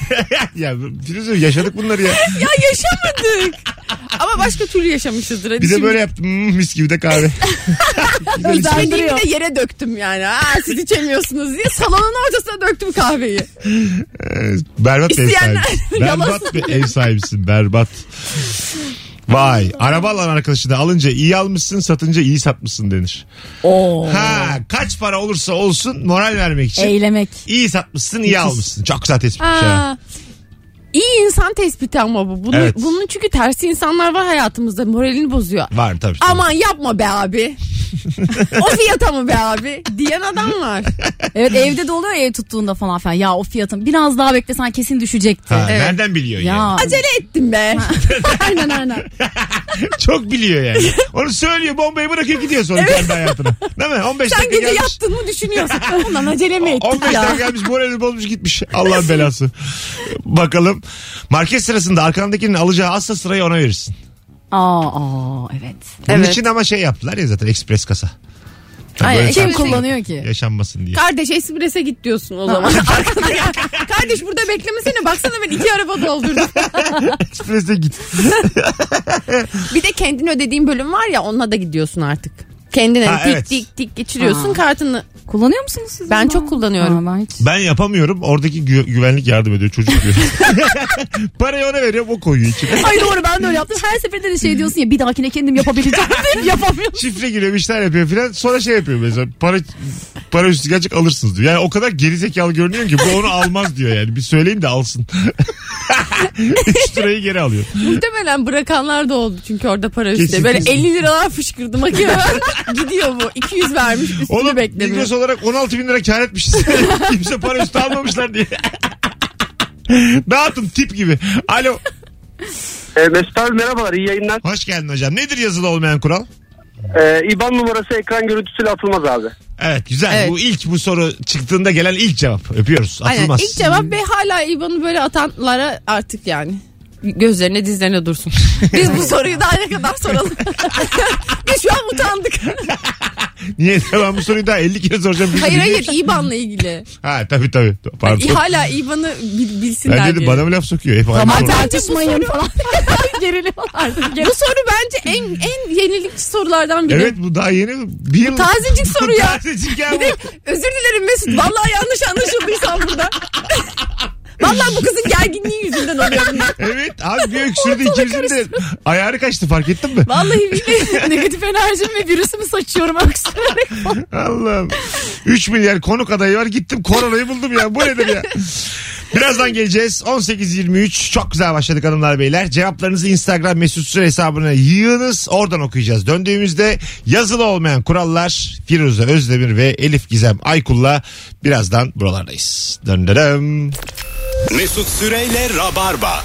Speaker 2: ya Firuze yaşadık bunları ya.
Speaker 3: ya yaşamadık. Ama başka türlü yaşamışızdır. Hadi
Speaker 2: Bir de
Speaker 3: şimdi.
Speaker 2: böyle yaptım. Hmm, mis gibi de kahve. Güzel içtim.
Speaker 3: Özelliğimi de yere döktüm yani. Aa, siz içemiyorsunuz diye salonun ortasına döktüm kahveyi.
Speaker 2: Ee, Berbat bir ev
Speaker 3: İsteyenler
Speaker 2: sahibisin.
Speaker 3: yalan
Speaker 2: Berbat bir ev sahibisin. Berbat. Vay. Araba alan arkadaşı da alınca iyi almışsın satınca iyi satmışsın denir.
Speaker 4: Oo.
Speaker 2: Ha kaç para olursa olsun moral vermek için.
Speaker 4: Eylemek.
Speaker 2: İyi satmışsın iyi almışsın. Çok güzel tespitmiş ha.
Speaker 3: Aa, iyi insan tespiti ama bu. Bunu,
Speaker 2: Evet.
Speaker 3: Bunun çünkü tersi insanlar var hayatımızda moralini bozuyor.
Speaker 2: Var tabii.
Speaker 3: Aman yapma be abi. o fiyata mı be abi? Diyen adam var.
Speaker 4: Evet evde de oluyor ya, ev tuttuğunda falan filan. Ya o fiyatın biraz daha beklesen kesin düşecekti.
Speaker 2: Ha,
Speaker 3: Evet.
Speaker 2: Nereden biliyor
Speaker 4: Ya.
Speaker 2: yani?
Speaker 3: Acele ettim be. aynen aynen.
Speaker 2: Çok biliyor yani. Onu söylüyor bombayı bırakıyor gidiyor sonra kendi hayatına. Değil mi? 15
Speaker 3: Sen
Speaker 2: dakika
Speaker 3: gece
Speaker 2: gelmiş.
Speaker 3: yattın mı düşünüyorsun. Ulan acele mi ettik
Speaker 2: 15
Speaker 3: ya?
Speaker 2: dakika gelmiş moralini bozmuş gitmiş. Allah belası. Bakalım. Market sırasında arkandakinin alacağı asla sırayı ona verirsin.
Speaker 4: Aa, aa evet.
Speaker 2: Bunun
Speaker 3: Evet.
Speaker 2: için ama şey yaptılar ya zaten ekspres kasa. Ha,
Speaker 3: Aynen,
Speaker 2: böyle
Speaker 3: kim
Speaker 4: Kim
Speaker 2: tartışma
Speaker 4: kullanıyor ki?
Speaker 2: Yaşanmasın diye.
Speaker 3: Kardeş esprese git diyorsun o zaman. Arkada ya. Kardeş burada beklemesene baksana ben iki araba doldurdum.
Speaker 2: Eksprese git.
Speaker 3: Bir de kendin ödediğin bölüm var ya onunla da gidiyorsun artık. Kendine
Speaker 2: Ha,
Speaker 3: tik
Speaker 2: evet.
Speaker 3: tik tik geçiriyorsun
Speaker 4: Ha.
Speaker 3: kartını.
Speaker 4: Kullanıyor musunuz siz?
Speaker 3: Ben
Speaker 4: bunu?
Speaker 3: çok kullanıyorum.
Speaker 4: Aa, ben hiç.
Speaker 2: Ben yapamıyorum. Oradaki gü- güvenlik yardım ediyor çocuk diyor. Parayı ona veriyorum o koyuyor içine.
Speaker 4: Ay doğru ben de öyle yaptım. Her seferinde de
Speaker 3: Hmm.
Speaker 4: şey diyorsun ya bir dahakine kendim yapabileceğim deyip yapamıyorum.
Speaker 2: Şifre giriyor bir şeyler yapıyor filan. Sonra şey yapıyor mesela para para üstü gelecek alırsınız diyor. Yani o kadar gerizekalı görünüyor ki bu onu almaz diyor yani. Bir söyleyin de alsın. 3 lirayı geri alıyor.
Speaker 3: Muhtemelen bırakanlar da oldu çünkü orada para üstü.
Speaker 2: Kesin,
Speaker 3: Böyle
Speaker 2: kesin.
Speaker 3: 50 liralar fışkırdı makineden. Gidiyor bu. 200 vermiş üstünü
Speaker 2: Oğlum
Speaker 3: beklemiyor.
Speaker 2: Migros olarak 16 bin lira kar etmişiz. Kimse para üstü almamışlar diye. Dağıtın tip gibi. Alo.
Speaker 6: E, Mesut abi merhabalar iyi yayınlar.
Speaker 2: Hoş geldin hocam. Nedir yazılı olmayan kural?
Speaker 6: E, İBAN numarası ekran görüntüsüyle atılmaz abi.
Speaker 2: Evet güzel.
Speaker 3: Evet.
Speaker 2: Bu ilk bu soru çıktığında gelen ilk cevap. Öpüyoruz.
Speaker 3: Aynen.
Speaker 2: Atılmaz.
Speaker 3: İlk cevap ve hala İBAN'ı böyle atanlara artık yani gözlerine dizlerine dursun. Biz bu soruyu daha ne kadar soralım. Biz şu an utandık.
Speaker 2: Niye? Ben bu soruyu daha 50 kere soracağım.
Speaker 3: Hayır hayır İBAN'la ilgili.
Speaker 2: Ha tabii tabii. Pardon.
Speaker 3: Hala İBAN'ı bil- bilsinler
Speaker 2: Ben dedim
Speaker 3: diye.
Speaker 2: bana mı laf sokuyor? Hep aynı soru.
Speaker 4: tartışmayın falan. Geriliyorlar.
Speaker 3: Bu soru bence en en yenilikçi sorulardan biri.
Speaker 2: Evet bu daha yeni. Bir yıl.
Speaker 3: Tazecik soru ya.
Speaker 2: Tazecik ya
Speaker 3: Bir de özür dilerim Mesut. Vallahi yanlış anlaşıldıysam burada. Vallahi bu kızın gerginliği yüzünden oluyor. bunlar.
Speaker 2: Evet abi bir öksürdü ikimizin de ayarı kaçtı fark ettin mi?
Speaker 4: Vallahi billahi negatif enerjim ve virüsümü saçıyorum öksürerek.
Speaker 2: Allah'ım. 3 milyar konuk adayı var gittim koronayı buldum ya bu nedir ya? Birazdan geleceğiz. 18.23 çok güzel başladık hanımlar beyler. Cevaplarınızı Instagram mesut süre hesabına yığınız. Oradan okuyacağız. Döndüğümüzde yazılı olmayan kurallar Firuze Özdemir ve Elif Gizem Aykul'la birazdan buralardayız. Döndürüm.
Speaker 1: Mesut Süreyle Rabarba.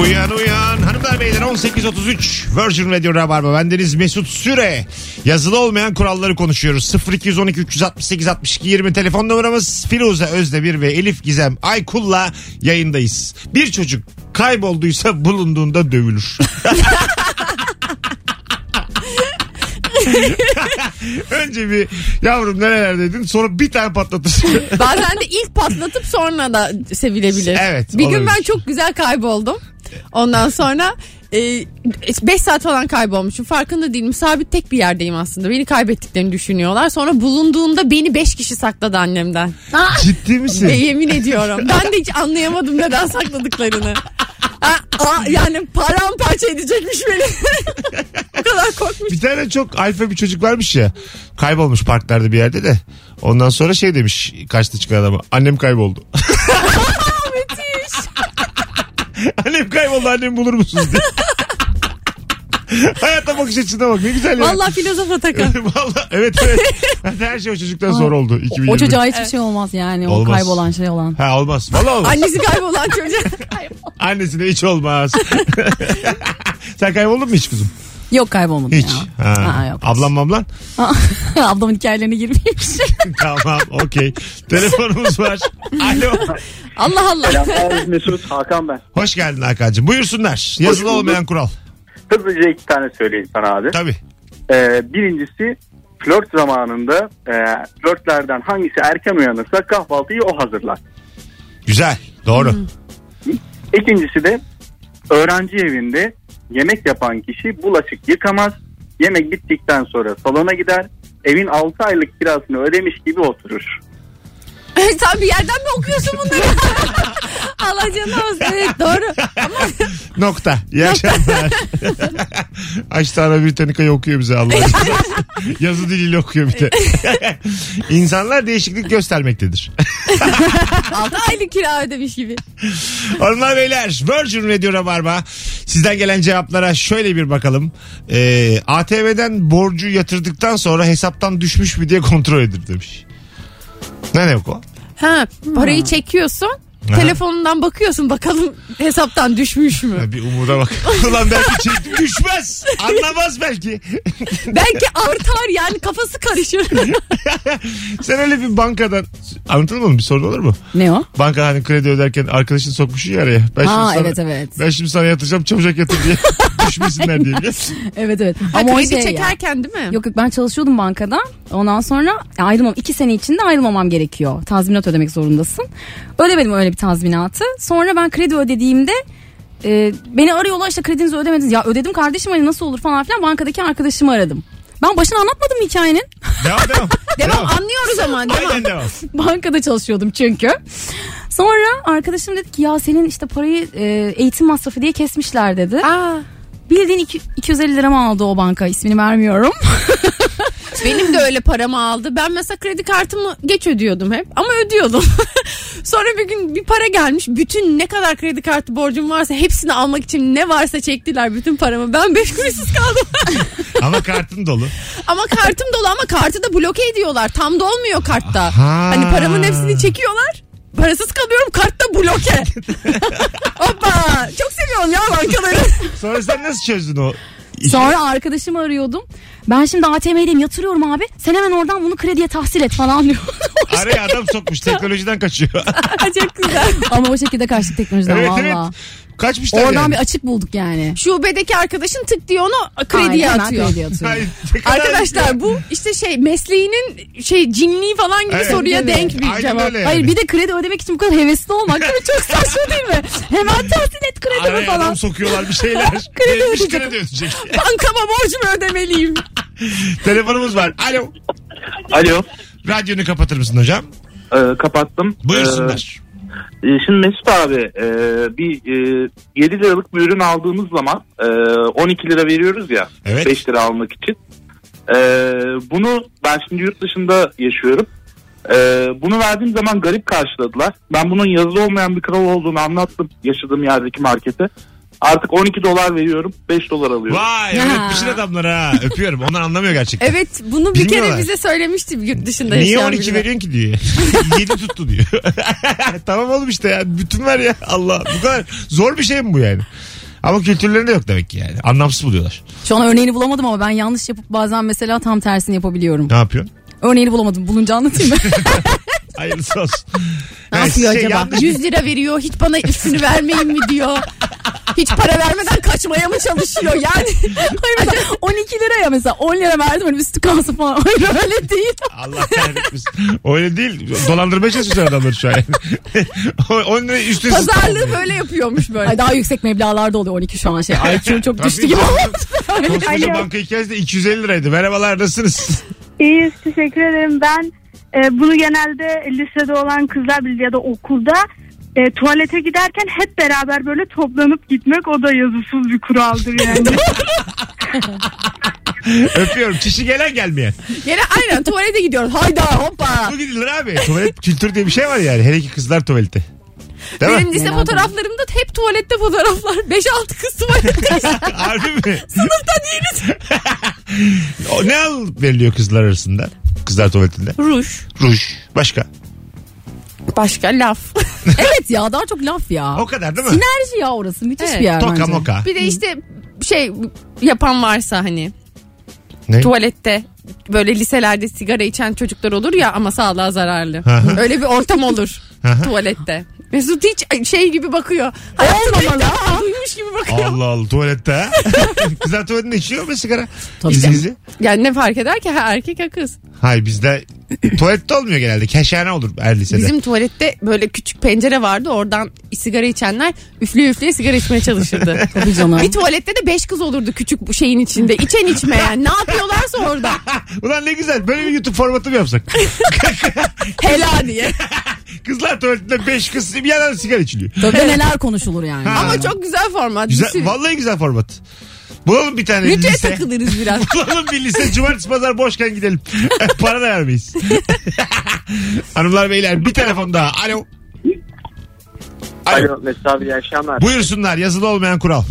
Speaker 2: Uyan uyan hanımlar beyler 18.33 Virgin Radio Rabarba bendeniz Mesut Süre yazılı olmayan kuralları konuşuyoruz 0212 368 62 20 telefon numaramız Firuze Özdemir ve Elif Gizem Aykul'la yayındayız bir çocuk kaybolduysa bulunduğunda dövülür Önce bir yavrum nerelerdeydin sonra bir tane patlatırsın.
Speaker 3: Bazen de ilk patlatıp sonra da sevilebilir.
Speaker 2: Evet,
Speaker 3: Bir gün
Speaker 2: olabilir.
Speaker 3: ben çok güzel kayboldum. Ondan sonra 5 saat falan kaybolmuşum. Farkında değilim. Sabit tek bir yerdeyim aslında. Beni kaybettiklerini düşünüyorlar. Sonra bulunduğumda beni 5 kişi sakladı annemden.
Speaker 2: Ciddi
Speaker 3: Ve
Speaker 2: misin?
Speaker 3: yemin ediyorum. Ben de hiç anlayamadım neden sakladıklarını. Ha, aa, yani paramparça edecekmiş beni. o kadar korkmuş.
Speaker 2: Bir tane çok alfa bir çocuk varmış ya. Kaybolmuş parklarda bir yerde de. Ondan sonra şey demiş kaçtı çıkan adama. Annem kayboldu. annem kayboldu annemi bulur musunuz diye. Hayata bakış açısına bak ne güzel ya.
Speaker 3: Vallahi filozofa takın.
Speaker 2: Vallahi evet evet. Hadi her şey o çocuktan zor oldu. 2020.
Speaker 4: O çocuğa hiçbir şey olmaz yani. O
Speaker 2: Olmaz.
Speaker 4: kaybolan şey olan.
Speaker 2: Ha olmaz. Vallahi olmaz.
Speaker 3: Annesi kaybolan çocuğa.
Speaker 2: Annesine hiç olmaz. Sen kayboldun mu hiç kızım?
Speaker 4: Yok kaybolmadı
Speaker 2: Hiç.
Speaker 4: ya.
Speaker 2: Ha.
Speaker 4: Ha, yok.
Speaker 2: Ablam mamlan?
Speaker 4: Ablamın hikayelerine girmeyeyim.
Speaker 2: tamam okey. Telefonumuz var. Alo.
Speaker 3: Allah Allah.
Speaker 8: Selamlar Mesut Hakan ben.
Speaker 2: Hoş geldin Hakan'cığım. Buyursunlar. Yazılı
Speaker 8: Hoş bulduk.
Speaker 2: olmayan kural.
Speaker 8: Hızlıca iki tane söyleyeyim sana abi.
Speaker 2: Tabii.
Speaker 8: Ee, birincisi flört zamanında e, flörtlerden hangisi erken uyanırsa kahvaltıyı o hazırlar.
Speaker 2: Güzel. Doğru.
Speaker 8: Hmm. İkincisi de öğrenci evinde yemek yapan kişi bulaşık yıkamaz. Yemek bittikten sonra salona gider. Evin 6 aylık kirasını ödemiş gibi oturur.
Speaker 3: Sen bir yerden mi okuyorsun bunları? Allah canına olsun. Evet doğru.
Speaker 2: Nokta. İyi akşamlar. Açtığına Britannica'yı okuyor bize Allah aşkına. Yazı diliyle okuyor bir de. İnsanlar değişiklik göstermektedir.
Speaker 3: 6 aylık kira ödemiş gibi.
Speaker 2: Hanımlar beyler Virgin Radio Rabarba. Sizden gelen cevaplara şöyle bir bakalım. Ee, ATV'den borcu yatırdıktan sonra hesaptan düşmüş mü diye kontrol edilir demiş. Ne demek o?
Speaker 3: Ha, parayı çekiyorsun. Telefonundan bakıyorsun bakalım hesaptan düşmüş mü?
Speaker 2: Ha, Bir umuda bak. Ulan belki çekti düşmez. Anlamaz belki.
Speaker 3: Belki artar yani kafası karışır.
Speaker 2: Sen öyle bir bankadan anlatılmadı mı? Bir sorun olur mu?
Speaker 4: ne o?
Speaker 2: Banka hani kredi öderken arkadaşın sokmuş ya araya. Ben şimdi
Speaker 4: Ha
Speaker 2: sana,
Speaker 4: evet evet.
Speaker 2: Ben şimdi sana yatıracağım çabucak yatır diye. Düşmesinler diye.
Speaker 4: Evet evet.
Speaker 3: Ama
Speaker 4: Ama o
Speaker 3: kredi
Speaker 4: şey ya.
Speaker 3: çekerken değil mi?
Speaker 4: Yok yok ben çalışıyordum bankada. Ondan sonra ayrılmam. iki sene içinde ayrılmamam gerekiyor. Tazminat ödemek zorundasın. Ödemedim öyle bir tazminatı. Sonra ben kredi ödediğimde e, beni arıyorlar işte kredinizi ödemediniz. Ya ödedim kardeşim hani nasıl olur falan filan. Bankadaki arkadaşımı aradım. Ben başını anlatmadım hikayenin.
Speaker 2: Devam devam.
Speaker 3: Devam anlıyoruz ama devam.
Speaker 2: Aynen devam.
Speaker 4: Bankada çalışıyordum çünkü. Sonra arkadaşım dedi ki ya senin işte parayı e, eğitim masrafı diye kesmişler dedi.
Speaker 3: Aa,
Speaker 4: Bildiğin iki- 250 liramı aldı o banka ismini vermiyorum.
Speaker 3: benim de öyle paramı aldı. Ben mesela kredi kartımı geç ödüyordum hep ama ödüyordum. Sonra bir gün bir para gelmiş. Bütün ne kadar kredi kartı borcum varsa hepsini almak için ne varsa çektiler bütün paramı. Ben beş kuruşsuz kaldım.
Speaker 2: Ama kartın dolu.
Speaker 3: Ama kartım dolu ama kartı da bloke ediyorlar. Tam dolmuyor kartta.
Speaker 2: Aha.
Speaker 3: Hani paramın hepsini çekiyorlar. Parasız kalıyorum kartta bloke. Hoppa. Çok seviyorum ya bankaları.
Speaker 2: Sonra sen nasıl çözdün o?
Speaker 4: Sonra arkadaşımı arıyordum. Ben şimdi ATM'deyim yatırıyorum abi. Sen hemen oradan bunu krediye tahsil et falan diyor.
Speaker 2: Araya adam sokmuş teknolojiden kaçıyor.
Speaker 3: Çok güzel.
Speaker 4: Ama o şekilde karşı teknolojiden
Speaker 2: evet
Speaker 4: valla.
Speaker 2: evet. Kaçmışlar
Speaker 4: Oradan
Speaker 2: yani.
Speaker 4: bir açık bulduk yani.
Speaker 3: Şubedeki arkadaşın tık diye onu krediye
Speaker 4: Aynen, hemen
Speaker 3: atıyor.
Speaker 4: krediye atıyor.
Speaker 2: Ay, ne kadar-
Speaker 3: Arkadaşlar bu işte şey mesleğinin şey cinliği falan gibi
Speaker 2: Evet.
Speaker 3: soruya
Speaker 4: Evet.
Speaker 3: denk bir
Speaker 2: Aynen
Speaker 3: cevap.
Speaker 2: öyle yani.
Speaker 4: Hayır bir de kredi ödemek için bu kadar hevesli olmak değil mi? Çok saçma değil mi? Hemen tahsil et kredimi
Speaker 2: Araya
Speaker 4: falan.
Speaker 2: adam sokuyorlar bir şeyler.
Speaker 4: Kredi
Speaker 2: Gelmiş
Speaker 4: ödeyecek.
Speaker 2: kredi ödeyecek.
Speaker 3: Bankama borcumu ödemeliyim.
Speaker 2: Telefonumuz var. Alo.
Speaker 6: Alo.
Speaker 2: Radyonu kapatır mısın hocam?
Speaker 6: Ee, kapattım.
Speaker 2: Buyursunlar.
Speaker 6: Ee, e, şimdi Mesut abi e, bir e, 7 liralık bir ürün aldığımız zaman e, 12 lira veriyoruz ya
Speaker 2: Evet.
Speaker 6: 5 lira almak için. E, bunu ben şimdi yurt dışında yaşıyorum. E, bunu verdiğim zaman garip karşıladılar. Ben bunun yazılı olmayan bir kral olduğunu anlattım yaşadığım yerdeki markete. Artık 12 dolar veriyorum 5 dolar alıyorum.
Speaker 2: Vay
Speaker 4: Ya.
Speaker 2: öğretmişsin adamları ha. Öpüyorum. Onlar anlamıyor gerçekten.
Speaker 3: Evet bunu bir
Speaker 2: Bilmiyorlar.
Speaker 3: kere bize söylemişti yurt dışında
Speaker 2: Niye
Speaker 3: yaşayan
Speaker 2: 12
Speaker 3: biri.
Speaker 2: veriyorsun ki diyor. 7 tuttu diyor. tamam oğlum işte ya. Bütün ver ya. Allah. Bu kadar zor bir şey mi bu yani? Ama kültürlerinde yok demek ki yani. Anlamsız buluyorlar.
Speaker 4: Şu an örneğini bulamadım ama ben yanlış yapıp bazen mesela tam tersini yapabiliyorum.
Speaker 2: Ne yapıyorsun?
Speaker 4: Örneğini bulamadım. Bulunca anlatayım mı?
Speaker 2: Hayırlısı olsun.
Speaker 3: Ne
Speaker 2: Yani
Speaker 3: yapıyor
Speaker 2: şey
Speaker 3: acaba?
Speaker 2: yanlış-
Speaker 3: 100 lira veriyor hiç bana üstünü vermeyin mi diyor. hiç para vermeden kaçmaya mı çalışıyor yani?
Speaker 4: Hayır mesela 12 liraya mesela 10 lira verdim hani üstü kalsın falan. Hayır öyle değil.
Speaker 2: Allah kahretmesin. Öyle değil. Dolandırmaya çalışıyor adamları şu an. O- Onun üstüne
Speaker 3: Pazarlığı böyle yapıyormuş böyle.
Speaker 4: Ay daha yüksek meblağlarda oluyor 12 şu an şey. Ay çok, çok düştü
Speaker 2: Tabii.
Speaker 4: gibi oldu.
Speaker 2: Koskoca
Speaker 5: Alo.
Speaker 2: banka hikayesi de 250 liraydı. Merhabalar nasılsınız?
Speaker 5: İyiyiz teşekkür ederim. Ben e, bunu genelde lisede olan kızlar bilir ya da okulda e, tuvalete giderken hep beraber böyle toplanıp gitmek o da yazısız bir kuraldır yani.
Speaker 2: Öpüyorum. Kişi gelen gelmeyen.
Speaker 3: Yine aynen tuvalete gidiyoruz. Hayda hoppa.
Speaker 2: Bu gidilir abi. Tuvalet kültürü diye bir şey var yani. Hele ki kızlar tuvaleti. Değil
Speaker 3: Benim
Speaker 2: mi?
Speaker 3: lise
Speaker 4: Fena
Speaker 3: fotoğraflarımda hep tuvalette fotoğraflar. 5-6 kız tuvalette.
Speaker 2: Harbi mi?
Speaker 3: Sınıfta değiliz.
Speaker 2: O ne al veriliyor kızlar arasında? Kızlar tuvaletinde.
Speaker 3: Ruj.
Speaker 2: Ruj. Başka.
Speaker 3: Başka laf.
Speaker 4: evet ya daha çok laf ya.
Speaker 2: O kadar değil mi?
Speaker 4: Sinerji ya orası müthiş
Speaker 3: Evet.
Speaker 4: bir yer
Speaker 2: Toka
Speaker 4: bence.
Speaker 2: moka.
Speaker 3: Bir de işte şey yapan varsa hani
Speaker 2: Ne?
Speaker 3: tuvalette böyle liselerde sigara içen çocuklar olur ya ama sağlığa zararlı.
Speaker 2: hı.
Speaker 3: Öyle bir ortam olur
Speaker 2: hı.
Speaker 3: tuvalette. Mesut hiç şey gibi bakıyor. Hayatında ilk defa duymuş gibi bakıyor.
Speaker 2: Allah Allah tuvalette ha? Kızlar tuvaletinde içiyor mu sigara?
Speaker 4: Tabii
Speaker 2: gizli
Speaker 4: canım.
Speaker 2: gizli.
Speaker 3: Yani ne fark eder ki ha erkek ha kız.
Speaker 2: Hayır bizde tuvalette olmuyor genelde. Keşhane olur her lisede.
Speaker 3: Bizim tuvalette böyle küçük pencere vardı oradan sigara içenler üfleye üfleye sigara içmeye çalışırdı.
Speaker 4: Tabii canım.
Speaker 3: bir tuvalette de beş kız olurdu küçük bu şeyin içinde. İçen içmeyen ne yapıyorlarsa orada.
Speaker 2: Ulan ne güzel böyle bir YouTube formatı mı yapsak?
Speaker 3: Hela diye.
Speaker 2: Kızlar tuvaletinde 5 kız bir yandan sigara içiliyor.
Speaker 4: Tabii neler konuşulur yani.
Speaker 2: Ha.
Speaker 3: Ama çok güzel format.
Speaker 2: Güzel,
Speaker 3: Düşün.
Speaker 2: vallahi güzel format. Bulalım bir tane
Speaker 3: Ritüel
Speaker 2: lise.
Speaker 3: takılırız biraz.
Speaker 2: Bulalım bir lise. Cumartesi pazar boşken gidelim. Para da vermeyiz. Hanımlar beyler bir telefon daha. Alo. Alo.
Speaker 6: Alo mesela iyi akşamlar.
Speaker 2: Buyursunlar yazılı olmayan kural.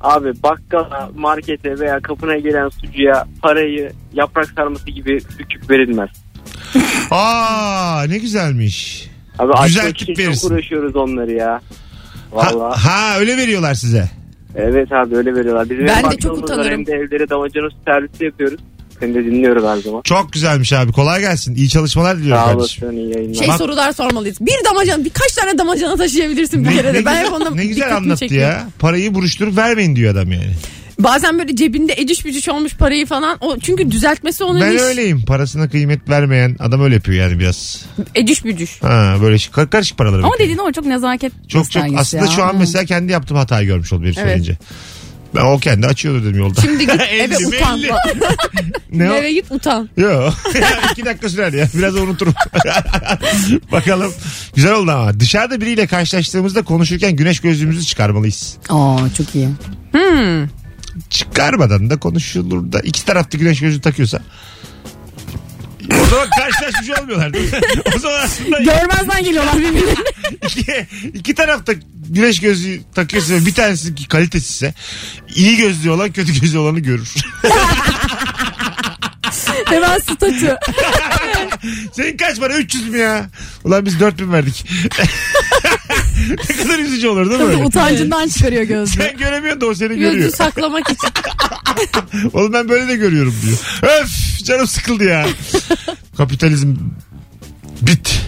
Speaker 6: Abi bakkala, markete veya kapına gelen sucuya parayı yaprak sarması gibi büküp verilmez.
Speaker 2: Aa ne güzelmiş.
Speaker 6: Abi
Speaker 2: Güzel
Speaker 6: açmak
Speaker 2: tip
Speaker 6: için
Speaker 2: verirsin.
Speaker 6: çok uğraşıyoruz onları ya.
Speaker 2: Ha,
Speaker 6: Valla.
Speaker 2: ha öyle veriyorlar size.
Speaker 6: Evet abi öyle veriyorlar. Bizim
Speaker 3: Ben
Speaker 6: hem
Speaker 3: de çok
Speaker 6: bakkalımız var,
Speaker 3: utanırım.
Speaker 6: Hem de evlere damacana servisi yapıyoruz. Seni de dinliyorum her zaman.
Speaker 2: Çok güzelmiş abi. Kolay gelsin. İyi çalışmalar diliyorum
Speaker 6: Sağ
Speaker 2: kardeşim.
Speaker 6: olasın iyi yayınlar.
Speaker 3: Şey
Speaker 2: Bak-
Speaker 3: sorular sormalıyız. Bir damacana birkaç tane damacana taşıyabilirsin bir
Speaker 2: Ne,
Speaker 3: kere
Speaker 2: ne
Speaker 3: de. Ben
Speaker 2: güzel-
Speaker 3: hep onda
Speaker 2: ne güzel
Speaker 3: dikkatimi
Speaker 2: anlattı
Speaker 3: çekiyor.
Speaker 2: ya. Parayı buruşturup vermeyin diyor adam yani.
Speaker 3: Bazen böyle cebinde eciş bücüş olmuş parayı falan. O, çünkü düzeltmesi onun
Speaker 2: Ben
Speaker 3: iş.
Speaker 2: öyleyim. Parasına kıymet vermeyen adam öyle yapıyor yani biraz.
Speaker 3: Eciş bücüş.
Speaker 2: Ha böyle şi- kar- karışık paraları.
Speaker 4: Ama
Speaker 2: veriyor.
Speaker 4: dediğin o çok nezaket
Speaker 2: çok çok
Speaker 4: göstergesi
Speaker 2: aslında
Speaker 4: ya.
Speaker 2: şu an
Speaker 4: Hı.
Speaker 2: mesela kendi yaptığım hatayı görmüş oldu biri
Speaker 3: Evet.
Speaker 2: söyleyince. Ben o kendi açıyordu dedim yolda.
Speaker 3: Şimdi git eve
Speaker 2: Elli mi
Speaker 3: utan.
Speaker 2: elli? ne o?
Speaker 3: Eve git utan.
Speaker 2: Yok. İki dakika sürer ya. Biraz da unuturum. Bakalım. Güzel oldu ama. Dışarıda biriyle karşılaştığımızda konuşurken güneş gözlüğümüzü çıkarmalıyız.
Speaker 4: Aa çok iyi.
Speaker 3: hmm.
Speaker 2: Çıkarmadan da konuşulur da. iki tarafta güneş gözlüğü takıyorsa. O zaman karşılaşmış olmuyorlar değil mi? O zaman aslında
Speaker 4: Görmezden geliyorlar birbirine.
Speaker 2: iki, iki tarafta güneş gözlüğü takıyorsa ve bir tanesi ki kalitesizse iyi gözlüğü olan kötü gözlüğü olanı görür.
Speaker 4: Hemen statü.
Speaker 2: Senin kaç para? 300 mü ya? Ulan biz 4000 verdik. ne kadar üzücü olur değil mi?
Speaker 4: Tabii
Speaker 2: öyle?
Speaker 4: utancından çıkarıyor gözlüğü.
Speaker 2: Sen göremiyorsun da o seni
Speaker 3: Gözü
Speaker 2: görüyor.
Speaker 3: saklamak için.
Speaker 2: Oğlum ben böyle de görüyorum diyor. Öf canım sıkıldı ya. Kapitalizm bit.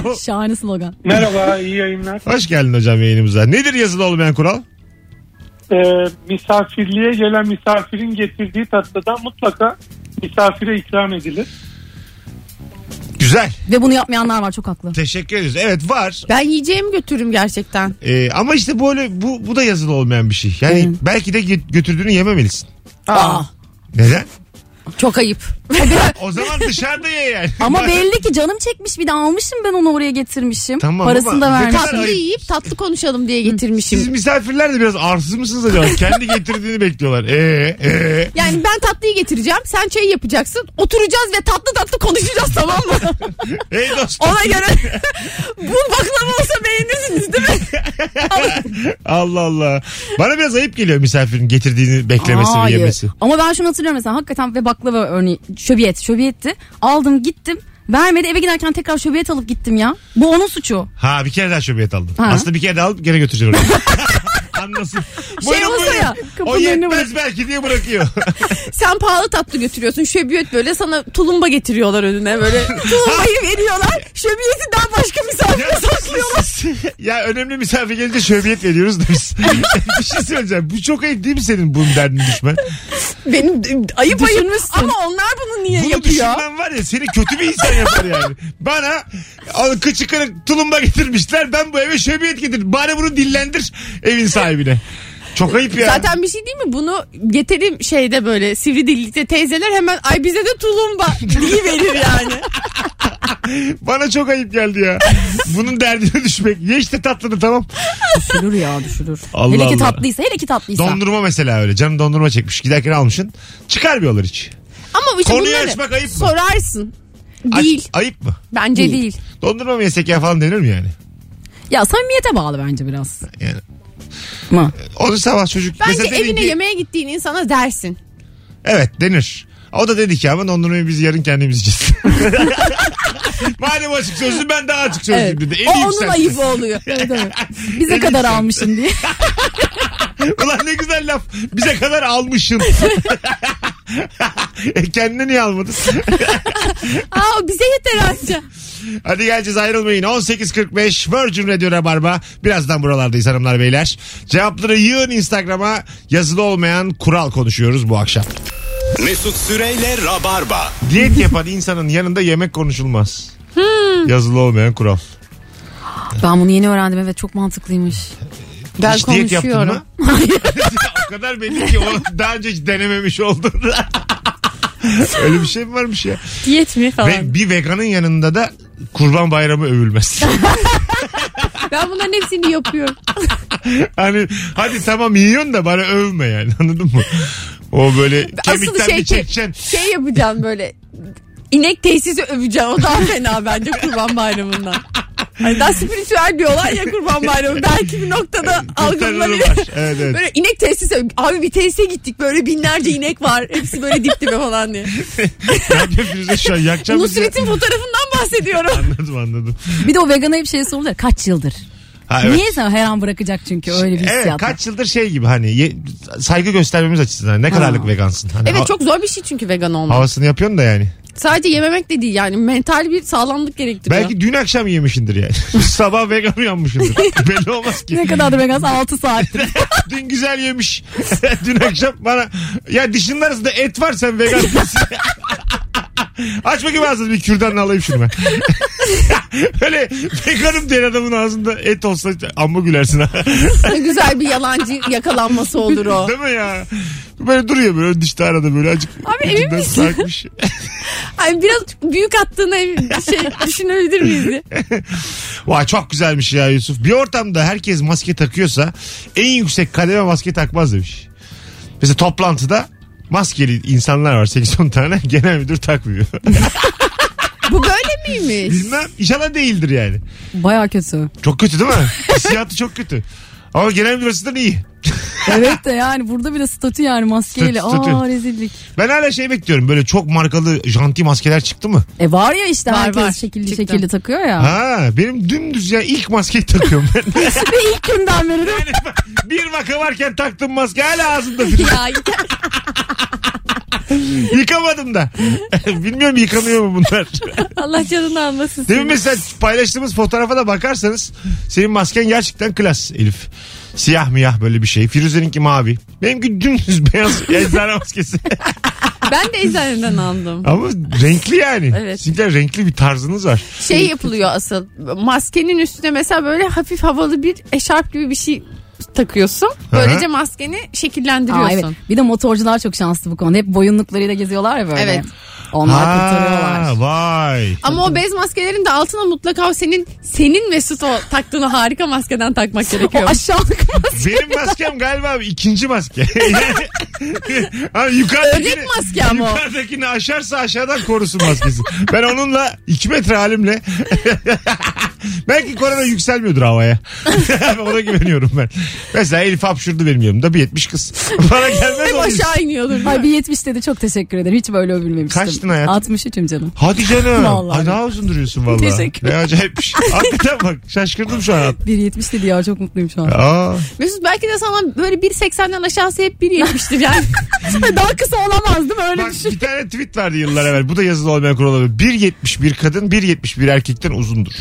Speaker 2: Alo.
Speaker 4: Şahane slogan.
Speaker 9: Merhaba, iyi yayınlar.
Speaker 2: Hoş geldin hocam yayınımıza. Nedir yazılı olmayan kural?
Speaker 9: Ee, misafirliğe gelen misafirin getirdiği tatlıdan mutlaka misafire ikram edilir.
Speaker 2: Güzel.
Speaker 4: Ve bunu yapmayanlar var çok haklı.
Speaker 2: Teşekkür ederiz. Evet var.
Speaker 3: Ben yiyeceğimi götürürüm gerçekten.
Speaker 2: Ee, ama işte bu öyle bu, bu da yazılı olmayan bir şey. Yani belki de gö- götürdüğünü yememelisin.
Speaker 4: Aa.
Speaker 2: Neden?
Speaker 3: Çok ayıp.
Speaker 2: O zaman dışarıda ye yani.
Speaker 4: Ama belli ki canım çekmiş bir de almışım ben onu oraya getirmişim.
Speaker 2: Tamam
Speaker 4: Parasını
Speaker 2: ama
Speaker 4: da
Speaker 2: ne
Speaker 4: vermiş.
Speaker 2: kadar
Speaker 3: tatlı
Speaker 2: ayıp.
Speaker 3: yiyip tatlı konuşalım diye
Speaker 2: Siz
Speaker 3: getirmişim.
Speaker 2: misafirler de biraz arsız mısınız acaba? Kendi getirdiğini bekliyorlar. Ee, ee.
Speaker 3: Yani ben tatlıyı getireceğim. Sen çayı yapacaksın. Oturacağız ve tatlı tatlı konuşacağız tamam mı?
Speaker 2: Ey dostum.
Speaker 3: Ona göre bu baklava olsa beğenirsiniz değil mi?
Speaker 2: Allah Allah. Bana biraz ayıp geliyor misafirin getirdiğini beklemesi ve
Speaker 4: Hayır.
Speaker 2: yemesi.
Speaker 4: Ama ben şunu hatırlıyorum mesela hakikaten ve baklava örneği şöbiyet şöbiyetti. Aldım gittim vermedi eve giderken tekrar şöbiyet alıp gittim ya. Bu onun suçu.
Speaker 2: Ha bir kere daha şöbiyet aldım.
Speaker 4: Ha.
Speaker 2: Aslında bir kere daha alıp gene götüreceğim oraya. Anlasın.
Speaker 3: Şey olsa ya
Speaker 2: o
Speaker 3: Kapının önüne bırak.
Speaker 2: yetmez belki diye bırakıyor.
Speaker 3: Sen pahalı tatlı götürüyorsun. Şöbiyet böyle sana tulumba getiriyorlar önüne. Böyle tulumbayı veriyorlar. Şöbiyeti daha başka misafir.
Speaker 2: ya, ya önemli misafir gelince şöbiyet veriyoruz da biz. bir şey söyleyeceğim. Bu çok ayıp değil mi senin bunun derdini düşmen?
Speaker 3: Benim ayıp ayıp.
Speaker 4: Düşünmüşsün.
Speaker 3: Ama onlar bunu niye
Speaker 2: Bunu
Speaker 3: yapıyor?
Speaker 2: düşünmen var ya seni kötü bir insan yapar yani. Bana al, kıçı kırık tulumba getirmişler. Ben bu eve şöbiyet getirdim. Bari bunu dillendir evin sahibine. Çok ayıp ya.
Speaker 3: Zaten bir şey değil mi? Bunu getirim şeyde böyle sivri dillikte teyzeler hemen ay bize de tulumba diye verir yani.
Speaker 2: Bana çok ayıp geldi ya. Bunun derdine düşmek. Ye işte tatlını tamam.
Speaker 4: Düşürür ya düşürür.
Speaker 2: Allah
Speaker 4: hele ki
Speaker 2: Allah.
Speaker 4: tatlıysa hele ki tatlıysa.
Speaker 2: Dondurma mesela öyle. Canım dondurma çekmiş. Giderken almışsın. Çıkarmıyorlar hiç.
Speaker 3: Ama işte
Speaker 2: Konuyu
Speaker 3: bunları
Speaker 2: açmak ayıp mı?
Speaker 3: sorarsın.
Speaker 2: Aç-
Speaker 3: Değil.
Speaker 2: ayıp mı?
Speaker 3: Bence değil.
Speaker 2: Dondurma mı yesek ya falan denir mi yani?
Speaker 4: Ya samimiyete bağlı bence biraz.
Speaker 2: Yani.
Speaker 4: Mı?
Speaker 2: Onu sabah çocuk.
Speaker 3: Bence
Speaker 2: mesela dedin
Speaker 3: evine
Speaker 2: ki-
Speaker 3: yemeğe gittiğin insana dersin.
Speaker 2: Evet denir. O da dedi ki ama dondurmayı biz yarın kendimiz yiyeceğiz. Madem açık sözlü ben daha açık sözlüyüm
Speaker 4: Evet.
Speaker 2: dedi.
Speaker 4: O
Speaker 2: En
Speaker 4: onun ayıbı oluyor. Evet, evet. Bize kadar almışım diye.
Speaker 2: Ulan ne güzel laf. Bize kadar almışsın. e kendine niye almadın?
Speaker 3: Aa bize yeter anca.
Speaker 2: Hadi geleceğiz ayrılmayın. 18.45 Virgin Radio Rabarba. Birazdan buralardayız hanımlar beyler. Cevapları yığın Instagram'a yazılı olmayan kural konuşuyoruz bu akşam.
Speaker 1: Mesut Süreyle Rabarba.
Speaker 2: Diyet yapan insanın yanında yemek konuşulmaz.
Speaker 3: Hmm.
Speaker 2: Yazılı olmayan kural.
Speaker 4: Ben bunu yeni öğrendim evet çok mantıklıymış.
Speaker 3: Ben
Speaker 2: Hiç diyet yaptın
Speaker 3: konuşuyorum.
Speaker 2: mı? o kadar belli ki o daha önce hiç denememiş oldun. Öyle bir şey mi varmış ya?
Speaker 3: Diyet mi falan.
Speaker 2: Ve bir veganın yanında da kurban bayramı övülmez.
Speaker 3: Ben bunların hepsini yapıyorum.
Speaker 2: hani hadi tamam yiyorsun da bana övme yani anladın mı? O böyle kemikten
Speaker 3: şey
Speaker 2: bir
Speaker 3: ki-
Speaker 2: çekeceksin.
Speaker 3: Şey yapacağım böyle. İnek tesisi öveceğim. O daha fena bence kurban bayramından. Hani daha spiritüel diyorlar ya kurban bayramı. Belki bir noktada
Speaker 2: Kurtarırlar.
Speaker 3: algılanabilir.
Speaker 2: Evet, evet.
Speaker 3: Böyle inek tesisi. öv- Abi bir tesise gittik. Böyle binlerce inek var. Hepsi böyle dip dibe falan diye.
Speaker 2: Ben de Firuze şu an yakacağım. bizi.
Speaker 3: Nusret'in fotoğrafından bahsediyorum.
Speaker 2: Anladım anladım.
Speaker 4: Bir de o vegana hep şey sorulur. Kaç yıldır?
Speaker 2: Ha, evet.
Speaker 4: Niye sen her an bırakacak çünkü öyle bir hissiyat.
Speaker 2: Evet
Speaker 4: var.
Speaker 2: kaç yıldır şey gibi hani ye- saygı göstermemiz açısından ne kadarlık vegansın. Hani ha-
Speaker 3: Evet çok zor bir şey çünkü vegan olmak.
Speaker 2: Havasını yapıyorsun da yani.
Speaker 3: Sadece yememek de değil yani mental bir sağlamlık gerektiriyor.
Speaker 2: Belki dün akşam yemişindir yani. Sabah vegan uyanmışındır. Belli olmaz ki.
Speaker 4: Ne kadar da vegan 6 saattir.
Speaker 2: Dün güzel yemiş. Dün akşam bana ya dişinin arasında et var sen vegan değilsin. Aç bakayım ağzını bir kürdanla alayım şunu ben. Öyle veganım diyen adamın ağzında et olsa amma gülersin ha.
Speaker 3: Ne güzel bir yalancı yakalanması olur o.
Speaker 2: Değil mi ya? Böyle duruyor böyle dişte arada böyle acık.
Speaker 3: Abi emin
Speaker 2: ucundan
Speaker 3: misin?
Speaker 2: sarkmış.
Speaker 3: Ay Hani biraz büyük attığına ev- şey düşünebilir miyiz? diye.
Speaker 2: Vay çok güzelmiş ya Yusuf. Bir ortamda herkes maske takıyorsa en yüksek kademe maske takmaz demiş. Mesela toplantıda maskeli insanlar var 8-10 tane genel müdür takmıyor.
Speaker 3: Bu böyle miymiş?
Speaker 2: Bilmem inşallah değildir yani.
Speaker 4: Baya kötü.
Speaker 2: Çok kötü değil mi? Hissiyatı çok kötü. Ama genel müdür açısından iyi.
Speaker 4: Evet de yani burada bile statü yani maskeyle.
Speaker 2: Statü, statü.
Speaker 4: Aa rezillik.
Speaker 2: Ben hala şey bekliyorum böyle çok markalı janti maskeler çıktı mı?
Speaker 4: E var ya işte
Speaker 3: Var,
Speaker 4: herkes
Speaker 3: var.
Speaker 4: şekilli
Speaker 3: Çıktı.
Speaker 4: şekilli takıyor ya.
Speaker 2: Ha benim dümdüz ya ilk maskeyi takıyorum ben.
Speaker 4: Ve ilk günden beri de
Speaker 2: Yani bir vaka varken taktım maske hala ağzımda.
Speaker 3: ya yeter.
Speaker 2: Yıkamadım da. Bilmiyorum yıkanıyor mu bunlar.
Speaker 3: Allah canını almasın.
Speaker 2: Değil mi
Speaker 3: seni.
Speaker 2: mesela paylaştığımız fotoğrafa da bakarsanız senin masken gerçekten klas Elif. Siyah miyah böyle bir şey. Firuze'ninki mavi. Benimki dümdüz beyaz eczane maskesi.
Speaker 3: Ben de eczaneden aldım.
Speaker 2: Ama renkli yani.
Speaker 3: Evet.
Speaker 2: Sizinkiler renkli bir tarzınız var.
Speaker 3: Şey yapılıyor asıl. Maskenin üstüne mesela böyle hafif havalı bir eşarp gibi bir şey takıyorsun. Böylece maskeni şekillendiriyorsun.
Speaker 4: Aa, evet. Bir de motorcular çok şanslı bu konuda. Hep boyunluklarıyla geziyorlar ya böyle.
Speaker 3: Evet.
Speaker 4: Onlar
Speaker 2: Ha,
Speaker 4: kurtarıyorlar.
Speaker 2: Vay.
Speaker 3: Ama o bez maskelerin de altına mutlaka o senin senin Mesut o taktığın o harika maskeden takmak gerekiyor.
Speaker 4: O aşağılık
Speaker 2: Benim maskem galiba ikinci maske. Ama yukarıdakini,
Speaker 3: Ödek maske ama o.
Speaker 2: Yukarıdakini aşarsa aşağıdan korusun maskesi. Ben onunla iki metre halimle Belki korona yükselmiyordur havaya. Ona güveniyorum ben. Mesela Elif hapşurdu benim yanımda. Bir 70 kız. Bana gelmez
Speaker 3: Hep
Speaker 2: o yüzden.
Speaker 3: aşağı iniyordur.
Speaker 4: Ay bir 70 dedi çok teşekkür ederim. Hiç böyle övülmemiştim.
Speaker 2: Kaçtın hayatım?
Speaker 4: 63'üm canım.
Speaker 2: Hadi canım.
Speaker 4: Vallahi.
Speaker 2: Ay daha uzun duruyorsun valla.
Speaker 4: Teşekkür
Speaker 2: Ne acayip bir şey. Hakikaten bak şaşkırdım şu an.
Speaker 4: Bir 70 dedi ya çok mutluyum şu an.
Speaker 2: Aa,
Speaker 3: Mesut belki de sana böyle 1.80'den aşağısı hep 1.70'tir yani. Daha kısa olamaz değil mi? Öyle
Speaker 2: bak
Speaker 3: düşün.
Speaker 2: bir tane tweet vardı yıllar evvel. Bu da yazılı olmayan kural olabilir. 1.71 kadın 1.71 erkekten uzundur.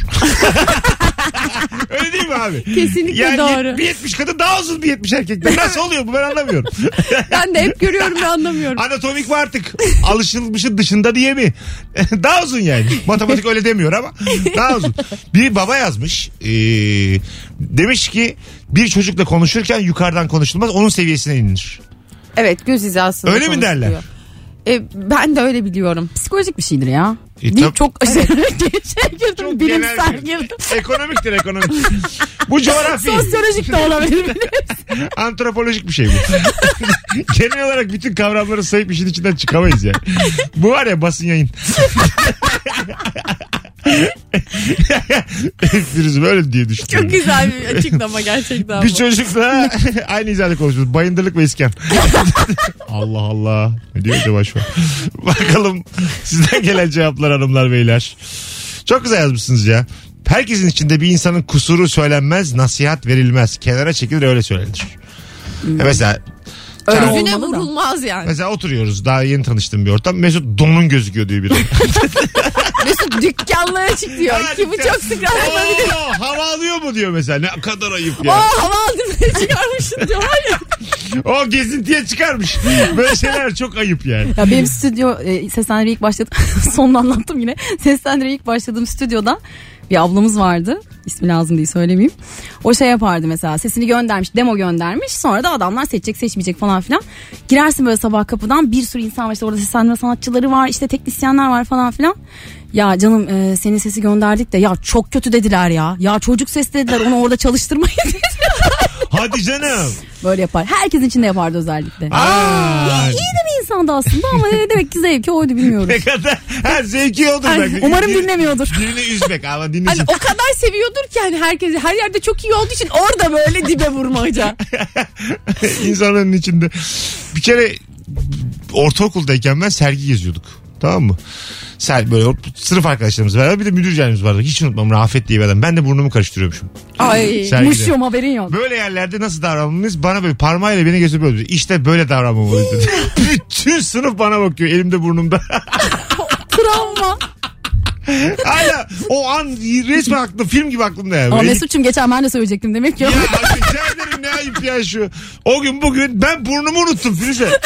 Speaker 2: Öyle değil mi abi?
Speaker 3: Kesinlikle
Speaker 2: yani
Speaker 3: doğru.
Speaker 2: 1.70 kadın daha uzun 1.70 erkekten. Nasıl oluyor bu ben anlamıyorum.
Speaker 3: Ben de hep görüyorum ve anlamıyorum.
Speaker 2: Anatomik mi artık? Alışılmışın dışında diye mi? daha uzun yani. Matematik öyle demiyor ama daha uzun. Bir baba yazmış. Ee, demiş ki bir çocukla konuşurken yukarıdan konuşulmaz onun seviyesine inilir.
Speaker 3: Evet göz hizasında
Speaker 2: Öyle mi
Speaker 3: konuşuluyor.
Speaker 2: derler?
Speaker 3: E, ben de öyle biliyorum.
Speaker 4: Psikolojik bir şeydir ya.
Speaker 2: E,
Speaker 3: Değil,
Speaker 2: tab-
Speaker 3: çok aşırı şey girdim. Bilimsel
Speaker 2: genel bir-
Speaker 3: girdim.
Speaker 2: Ekonomiktir ekonomik. bu coğrafi.
Speaker 3: Sosyolojik de olabilir.
Speaker 2: Antropolojik bir şey bu. Genel olarak bütün kavramları sayıp işin içinden çıkamayız yani. Bu var ya basın yayın. Firuze böyle diye düşünüyorum.
Speaker 3: Çok güzel bir açıklama gerçekten
Speaker 2: Bir
Speaker 3: bu.
Speaker 2: çocukla aynı hizada konuşuyoruz. Bayındırlık ve iskan. Allah Allah. Ne diyor acaba şu an? Bakalım sizden gelen cevaplar hanımlar beyler. Çok güzel yazmışsınız ya. Herkesin içinde bir insanın kusuru söylenmez, nasihat verilmez. Kenara çekilir öyle söylenir.
Speaker 3: Hmm.
Speaker 2: Ya Mesela
Speaker 4: Öyle
Speaker 2: Çağrı-
Speaker 3: Yüzüne
Speaker 4: olmalı da.
Speaker 3: vurulmaz yani.
Speaker 2: Mesela oturuyoruz daha yeni tanıştığım bir ortam. Mesut donun gözüküyor diyor biri.
Speaker 3: Mesut dükkanlara çık diyor. Ki bu çok sık rastlanabilir.
Speaker 2: Oo, Hava alıyor mu diyor mesela. Ne kadar ayıp
Speaker 3: Aa
Speaker 2: ya.
Speaker 3: hava aldırmaya çıkarmışsın diyorlar ya.
Speaker 2: O gezintiye çıkarmış. Böyle şeyler çok ayıp yani.
Speaker 4: Ya benim stüdyo e, seslendirmeye ilk başladım. Sonunu anlattım yine. Seslendirmeye ilk başladığım stüdyoda bir ablamız vardı. İsmi lazım değil söylemeyeyim. O şey yapardı mesela sesini göndermiş demo göndermiş. Sonra da adamlar seçecek seçmeyecek falan filan. Girersin böyle sabah kapıdan bir sürü insan var. İşte orada seslendirme sanatçıları var işte teknisyenler var falan filan. Ya canım e, senin sesi gönderdik de ya çok kötü dediler ya. Ya çocuk sesi dediler onu orada çalıştırmayın diye.
Speaker 2: Hadi canım.
Speaker 4: Böyle yapar. Herkesin içinde yapardı özellikle.
Speaker 2: Aa,
Speaker 4: İyi de bir insandı aslında ama e, demek ki zevki oydu bilmiyorum.
Speaker 2: ne kadar ha, zevki olur.
Speaker 4: Ay,
Speaker 2: belki.
Speaker 4: umarım
Speaker 2: Birini-
Speaker 4: dinlemiyordur.
Speaker 2: Birini üzmek ama
Speaker 3: Hani
Speaker 2: dinlesin.
Speaker 3: o kadar seviyordur ki hani herkesi her yerde çok iyi olduğu için orada böyle dibe vurmaca.
Speaker 2: İnsanların içinde. Bir kere ortaokuldayken ben sergi geziyorduk. Tamam mı? Ser, böyle or- sınıf arkadaşlarımız var. Bir de müdür yardımcımız vardı. Hiç unutmam Rafet diye bir adam. Ben de burnumu karıştırıyormuşum.
Speaker 3: Ay.
Speaker 2: Sergide.
Speaker 4: Muşyum haberin yok.
Speaker 2: Böyle yerlerde nasıl davranmalıyız? Bana böyle parmağıyla beni gözüme böyle. İşte böyle davranmamalıyız dedi. Bütün sınıf bana bakıyor. Elimde burnumda.
Speaker 4: Travma.
Speaker 2: Hala o an resmen aklımda. Film gibi aklımda yani.
Speaker 4: Ama
Speaker 2: Böyle
Speaker 4: Mesut'cum geçen ben de söyleyecektim demek ki.
Speaker 2: Ya abi rica ederim ne ayıp ya şu. O gün bugün ben burnumu unuttum Firuze.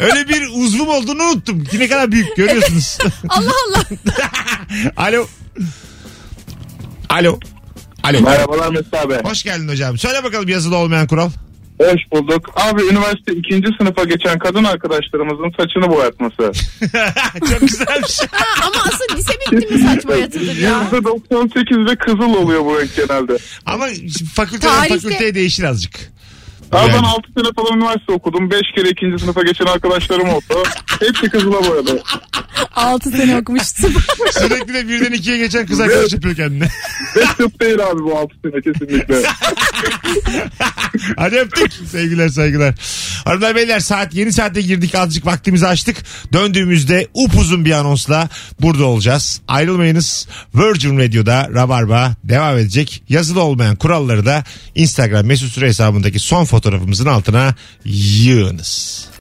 Speaker 2: Öyle bir uzvum olduğunu unuttum. Ne kadar büyük görüyorsunuz.
Speaker 3: Allah Allah.
Speaker 2: Alo. Alo. Alo.
Speaker 8: Merhabalar Mesut abi.
Speaker 2: Hoş geldin hocam. Söyle bakalım yazılı olmayan kural.
Speaker 8: Hoş bulduk. Abi üniversite ikinci sınıfa geçen kadın arkadaşlarımızın saçını boyatması.
Speaker 2: Çok güzelmiş.
Speaker 3: Ha, ama asıl lise bitti mi saç boyatılır ya?
Speaker 8: %98 ve kızıl oluyor bu renk genelde.
Speaker 2: Ama fakülteden
Speaker 3: Tarihte-
Speaker 2: fakülteye değişir azıcık.
Speaker 8: Abi ben
Speaker 2: Yani.
Speaker 8: 6 sene falan üniversite okudum. 5 kere ikinci sınıfa geçen arkadaşlarım oldu. Hepsi kızıla boyadı.
Speaker 4: 6 sene okumuştum.
Speaker 2: Sürekli de birden ikiye geçen kız arkadaş yapıyor kendine.
Speaker 8: Ve tıp değil abi bu 6 sene kesinlikle.
Speaker 2: Hadi öptük. Sevgiler saygılar. Hanımlar beyler saat yeni saate girdik. Azıcık vaktimizi açtık. Döndüğümüzde upuzun bir anonsla burada olacağız. Ayrılmayınız. Virgin Radio'da Rabarba devam edecek. Yazılı olmayan kuralları da Instagram mesut süre hesabındaki son fotoğrafımızın altına yığınız.